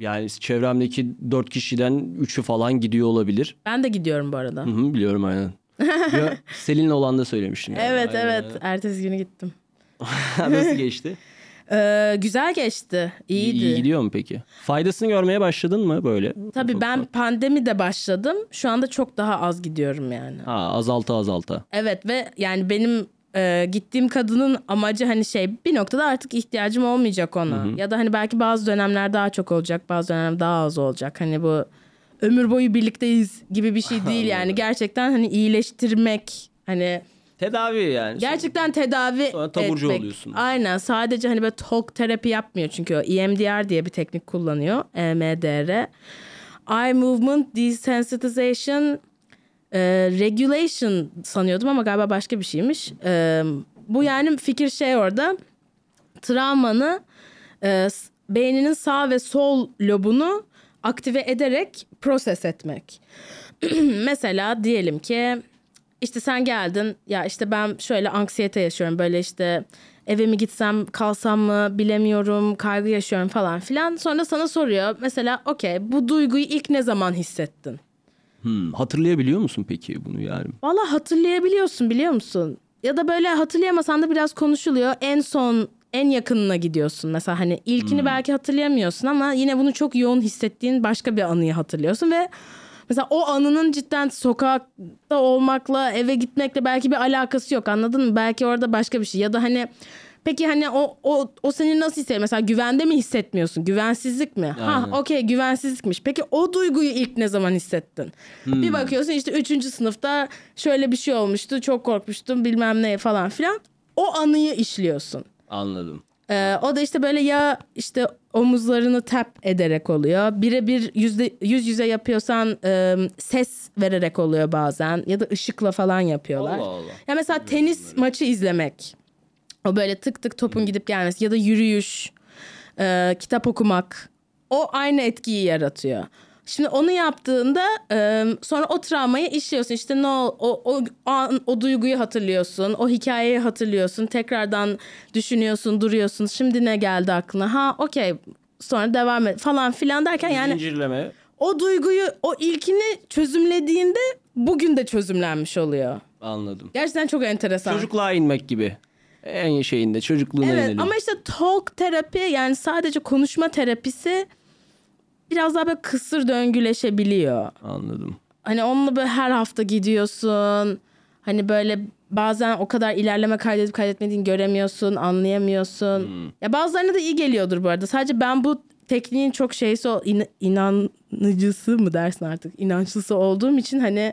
S3: Yani çevremdeki dört kişiden üçü falan gidiyor olabilir.
S2: ben de gidiyorum bu arada.
S3: Hı hı, biliyorum aynen. Ya, Selin'le olan da söylemiştim. yani.
S2: evet
S3: Aynen,
S2: evet. Ertesi günü gittim.
S3: aynen. Nasıl geçti?
S2: Ee, güzel geçti.
S3: İyi,
S2: İyiydi.
S3: iyi gidiyor mu peki? Faydasını görmeye başladın mı böyle?
S2: Tabii ben pandemi de başladım. Şu anda çok daha az gidiyorum yani.
S3: Ha, azalta azalta.
S2: Evet ve yani benim e, gittiğim kadının amacı hani şey bir noktada artık ihtiyacım olmayacak ona. Ya da hani belki bazı dönemler daha çok olacak bazı dönem daha az olacak. Hani bu ömür boyu birlikteyiz gibi bir şey değil yani. Gerçekten hani iyileştirmek hani
S3: Tedavi yani.
S2: gerçekten tedavi
S3: Sonra taburcu
S2: etmek.
S3: oluyorsun.
S2: Aynen sadece hani böyle talk terapi yapmıyor çünkü o E EMDR diye bir teknik kullanıyor. E EMDR. Eye movement desensitization e, regulation sanıyordum ama galiba başka bir şeymiş. E, bu yani fikir şey orada travmanı e, s- beyninin sağ ve sol lobunu aktive ederek proses etmek. Mesela diyelim ki işte sen geldin ya işte ben şöyle anksiyete yaşıyorum böyle işte eve mi gitsem kalsam mı bilemiyorum kaygı yaşıyorum falan filan. Sonra sana soruyor mesela okey bu duyguyu ilk ne zaman hissettin?
S3: Hmm, hatırlayabiliyor musun peki bunu yani?
S2: Valla hatırlayabiliyorsun biliyor musun? Ya da böyle hatırlayamasan da biraz konuşuluyor. En son en yakınına gidiyorsun. Mesela hani ilkini belki hatırlayamıyorsun ama yine bunu çok yoğun hissettiğin başka bir anıyı hatırlıyorsun ve mesela o anının cidden sokakta olmakla eve gitmekle belki bir alakası yok anladın mı? Belki orada başka bir şey ya da hani Peki hani o o o seni nasıl hissediyor? Mesela güvende mi hissetmiyorsun? Güvensizlik mi? Ha
S3: Aynen.
S2: okey güvensizlikmiş. Peki o duyguyu ilk ne zaman hissettin? Bir bakıyorsun işte 3. sınıfta şöyle bir şey olmuştu. Çok korkmuştum bilmem ne falan filan. O anıyı işliyorsun.
S3: Anladım.
S2: Ee, o da işte böyle ya işte omuzlarını tap ederek oluyor. Birebir yüzde yüz yüze yapıyorsan e, ses vererek oluyor bazen ya da ışıkla falan yapıyorlar.
S3: Allah Allah.
S2: Ya mesela tenis maçı izlemek. O böyle tık tık topun gidip gelmesi ya da yürüyüş, e, kitap okumak. O aynı etkiyi yaratıyor. Şimdi onu yaptığında e, sonra o travmayı işliyorsun. İşte ne ol- o, o, o an o duyguyu hatırlıyorsun, o hikayeyi hatırlıyorsun. Tekrardan düşünüyorsun, duruyorsun. Şimdi ne geldi aklına? Ha okey sonra devam et falan filan derken yani
S3: Zincirleme.
S2: o duyguyu, o ilkini çözümlediğinde bugün de çözümlenmiş oluyor.
S3: Anladım.
S2: Gerçekten çok enteresan.
S3: Çocukluğa inmek gibi. En şeyinde çocukluğuna
S2: Evet
S3: inelim.
S2: ama işte talk terapi yani sadece konuşma terapisi biraz daha böyle kısır döngüleşebiliyor.
S3: Anladım.
S2: Hani onunla böyle her hafta gidiyorsun. Hani böyle bazen o kadar ilerleme kaydedip kaydetmediğini göremiyorsun, anlayamıyorsun. Ya bazılarına da iyi geliyordur bu arada. Sadece ben bu tekniğin çok şeysi o in- inanıcısı mı dersin artık? İnançlısı olduğum için hani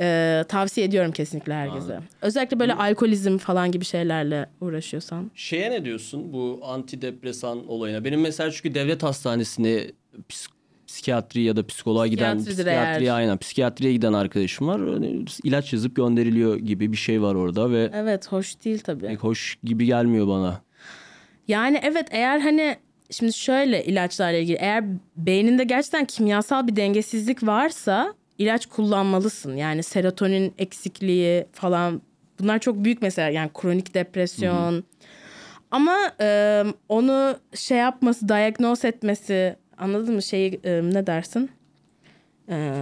S2: e, tavsiye ediyorum kesinlikle herkese. Özellikle böyle alkolizm falan gibi şeylerle uğraşıyorsan.
S3: Şeye ne diyorsun bu antidepresan olayına? Benim mesela çünkü devlet hastanesine psik- psikiyatri ya da psikoloğa giden
S2: Psikiyatridir
S3: psikiyatriye
S2: eğer.
S3: aynen psikiyatriye giden arkadaşım var. Hani ilaç yazıp gönderiliyor gibi bir şey var orada ve
S2: Evet hoş değil tabii.
S3: pek hoş gibi gelmiyor bana.
S2: Yani evet eğer hani şimdi şöyle ilaçlarla ilgili eğer beyninde gerçekten kimyasal bir dengesizlik varsa ilaç kullanmalısın. Yani serotonin eksikliği falan bunlar çok büyük mesela yani kronik depresyon. Ama e, onu şey yapması, diagnose etmesi anladın mı şeyi e, ne dersin? E,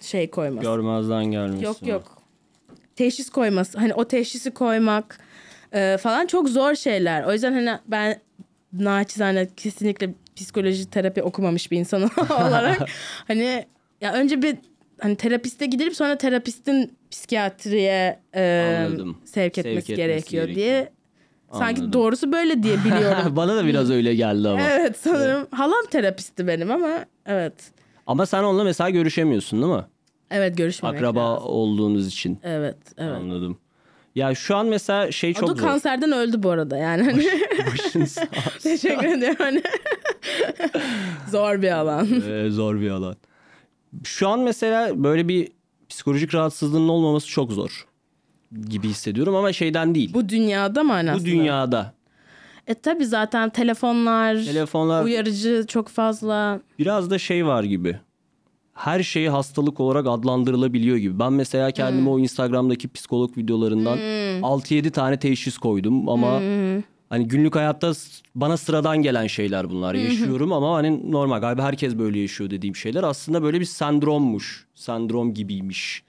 S2: şey koyması.
S3: Görmezden gelmesin.
S2: Yok yok. Teşhis koyması. Hani o teşhisi koymak e, falan çok zor şeyler. O yüzden hani ben naçizane kesinlikle psikoloji terapi okumamış bir insan olarak hani ya önce bir hani terapiste gidilip sonra terapistin psikiyatriye e,
S3: Anladım.
S2: sevk etmesi
S3: etmesi
S2: gerekiyor
S3: gerekiyor.
S2: diye. Sanki
S3: Anladım.
S2: doğrusu böyle diye biliyorum.
S3: bana da biraz öyle geldi ama.
S2: evet sanırım halam terapisti benim ama evet.
S3: Ama sen onunla mesela görüşemiyorsun değil mi?
S2: Evet görüşmemek
S3: Akraba
S2: lazım.
S3: olduğunuz için.
S2: Evet evet.
S3: Anladım. Ya şu an mesela şey
S2: o da
S3: çok zor.
S2: kanserden öldü bu arada yani. Hani-
S3: Başın sağ olsun.
S2: Teşekkür ederim. Hani Zor bir alan.
S3: Ee, zor bir alan. Şu an mesela böyle bir psikolojik rahatsızlığının olmaması çok zor gibi hissediyorum ama şeyden değil. Bu,
S2: Bu dünyada manasında.
S3: dünyada.
S2: E tabi zaten telefonlar,
S3: Telefonlar
S2: uyarıcı çok fazla.
S3: biraz da şey var gibi. Her şeyi hastalık olarak adlandırılabiliyor gibi. Ben mesela kendime o Instagram'daki psikolog videolarından 6-7 tane teşhis koydum ama hani günlük hayatta s- bana sıradan gelen şeyler bunlar. Yaşıyorum ama hani normal galiba herkes böyle yaşıyor dediğim şeyler aslında böyle bir sendrommuş. Sendrom gibiymiş.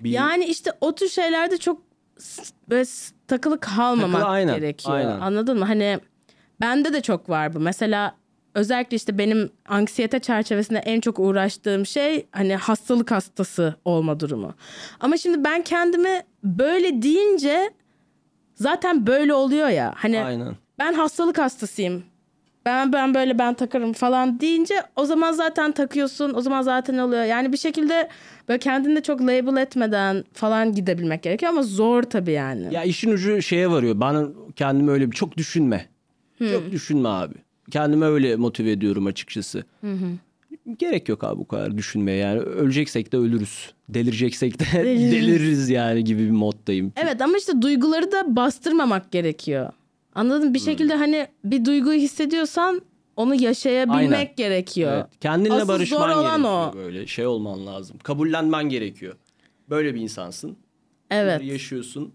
S3: Bir
S2: Yani işte o tür şeylerde çok s- böyle s- takılı kalmamak
S3: Takılı, aynen,
S2: gerekiyor.
S3: aynen.
S2: Anladın mı? Hani bende de çok var bu. Mesela özellikle işte benim anksiyete çerçevesinde en çok uğraştığım şey hani hastalık hastası olma durumu. Ama şimdi ben kendimi böyle deyince zaten böyle oluyor ya. Hani
S3: Aynen.
S2: ben hastalık hastasıyım. Ben ben böyle ben takarım falan deyince o zaman zaten takıyorsun. O zaman zaten oluyor. Yani bir şekilde böyle kendini de çok label etmeden falan gidebilmek gerekiyor ama zor tabii yani.
S3: Ya işin ucu şeye varıyor. Ben kendimi öyle bir çok düşünme. Çok düşünme abi. Kendimi öyle motive ediyorum açıkçası. Gerek yok abi bu kadar düşünmeye. Yani öleceksek de ölürüz. Delireceksek de deliririz yani gibi bir moddayım.
S2: Evet ama işte duyguları da bastırmamak gerekiyor. Anladın mı?
S3: Hmm.
S2: Bir şekilde hani bir duyguyu hissediyorsan onu yaşayabilmek
S3: Aynen.
S2: gerekiyor.
S3: Evet. Kendinle
S2: Asıl
S3: barışman
S2: zor olan
S3: gerekiyor
S2: o.
S3: böyle. Şey olman lazım. Kabullenmen gerekiyor. Böyle bir insansın.
S2: Evet.
S3: Bunları yaşıyorsun.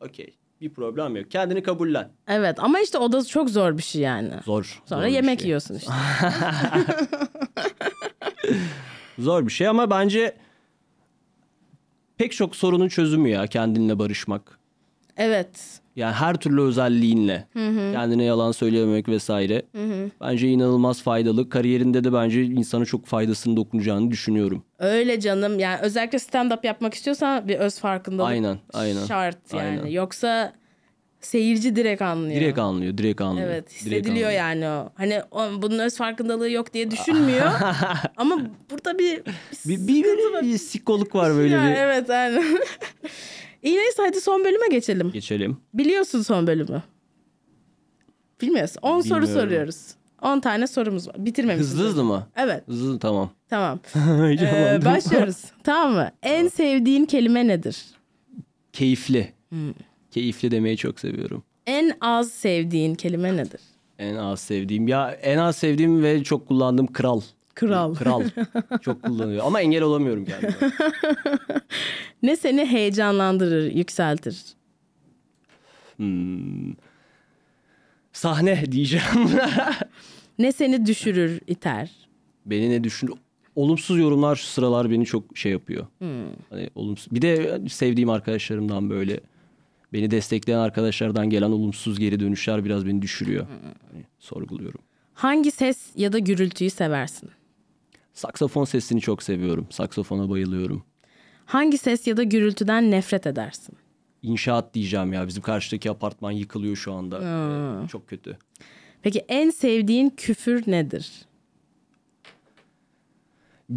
S3: Okey. Bir problem yok. Kendini kabullen.
S2: Evet ama işte o da çok zor bir şey yani.
S3: Zor.
S2: Sonra
S3: zor bir
S2: yemek
S3: şey.
S2: yiyorsun işte.
S3: Zor bir şey ama bence pek çok sorunun çözümü ya kendinle barışmak.
S2: Evet.
S3: Yani her türlü özelliğinle. Kendine yalan söylememek vesaire. Bence inanılmaz faydalı. Kariyerinde de bence insana çok faydasını dokunacağını düşünüyorum.
S2: Öyle canım yani özellikle stand up yapmak istiyorsan bir öz farkındalık
S3: Aynen, aynen.
S2: şart yani.
S3: Aynen.
S2: Yoksa seyirci direkt anlıyor.
S3: Direkt anlıyor, direkt anlıyor.
S2: Evet
S3: Direkt
S2: hissediliyor
S3: anlıyor.
S2: yani o. Hani o, bunun öz farkındalığı yok diye düşünmüyor. Ama burada bir,
S3: Bir, bir, bir, bir sikoluk var böyle
S2: Ya,
S3: bir.
S2: evet aynen. İyi neyse hadi son bölüme geçelim.
S3: Geçelim.
S2: Biliyorsun son bölümü. Bilmiyorsun. 10 soru
S3: Bilmiyorum.
S2: soruyoruz. 10 tane sorumuz var. Bitirmemişiz.
S3: Hızlı hızlı mı?
S2: Evet
S3: Hızlı hızlı, tamam.
S2: tamam. Ee,
S3: Heyecanlandım.
S2: başlıyoruz. tamam mı? En sevdiğin kelime nedir?
S3: Keyifli. Keyifli demeyi çok seviyorum.
S2: En az sevdiğin kelime nedir?
S3: En az sevdiğim ya en az sevdiğim ve çok kullandığım kral.
S2: Kral.
S3: Kral. çok kullanıyor ama engel olamıyorum kendime.
S2: Ne seni heyecanlandırır, yükseltir?
S3: Sahne diyeceğim.
S2: Ne seni düşürür, iter?
S3: beni ne düşün olumsuz yorumlar şu sıralar beni çok şey yapıyor. Hani olumsuz. Bir de sevdiğim arkadaşlarımdan böyle beni destekleyen arkadaşlardan gelen olumsuz geri dönüşler biraz beni düşürüyor. Hani sorguluyorum.
S2: Hangi ses ya da gürültüyü seversin?
S3: Saksafon sesini çok seviyorum. Saksafona bayılıyorum.
S2: Hangi ses ya da gürültüden nefret edersin?
S3: İnşaat diyeceğim ya. Bizim karşıdaki apartman yıkılıyor şu anda. Ee, Çok kötü.
S2: Peki en sevdiğin küfür nedir?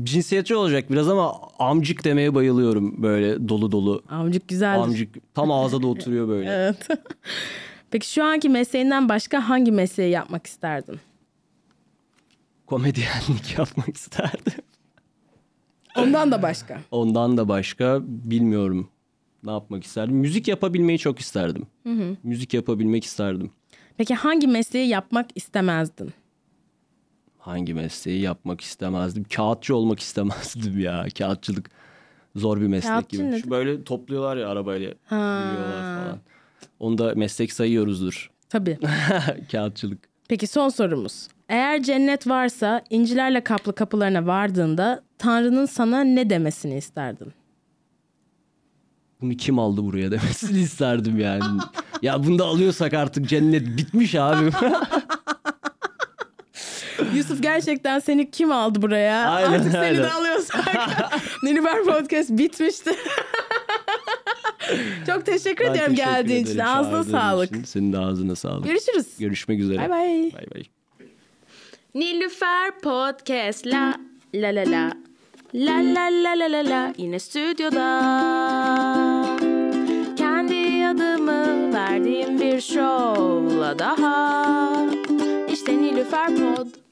S3: Cinsiyetçi olacak biraz ama amcık demeye bayılıyorum böyle dolu dolu.
S2: Amcık güzeldir.
S3: Amcık tam ağza da oturuyor böyle.
S2: Evet. Peki şu anki mesleğinden başka hangi mesleği yapmak isterdin?
S3: Komedyenlik yapmak isterdim.
S2: Ondan da başka.
S3: Ondan da başka bilmiyorum ne yapmak isterdim. Müzik yapabilmeyi çok isterdim. Müzik yapabilmek isterdim.
S2: Peki hangi mesleği yapmak istemezdin?
S3: Hangi mesleği yapmak istemezdim? Kağıtçı olmak istemezdim ya. Kağıtçılık zor bir meslek
S2: Kağıtçı
S3: gibi.
S2: nedir?
S3: Şu böyle topluyorlar ya arabayla. Yürüyorlar falan. Onu da meslek sayıyoruzdur.
S2: Tabii.
S3: Kağıtçılık.
S2: Peki son sorumuz. Eğer cennet varsa incilerle kaplı kapılarına vardığında Tanrı'nın sana ne demesini isterdin?
S3: Bunu kim aldı buraya demesini isterdim yani. ya bunu da alıyorsak artık cennet bitmiş abi.
S2: Yusuf gerçekten seni kim aldı buraya?
S3: Aynen,
S2: Artık seni
S3: aynen.
S2: de alıyorsak. Nilüfer Podcast bitmişti. Çok teşekkür
S3: Ben
S2: ediyorum
S3: teşekkür
S2: geldiğin için.
S3: ederim
S2: Ağzına
S3: çağırdığın için.
S2: sağlık.
S3: Senin de ağzına sağlık.
S2: Görüşürüz.
S3: Görüşmek üzere.
S2: Bay bay.
S3: Bay bay.
S1: Nilüfer Podcast la la la la La la la la la la yine stüdyoda Kendi adımı verdiğim bir şovla daha İşte Nilüfer Pod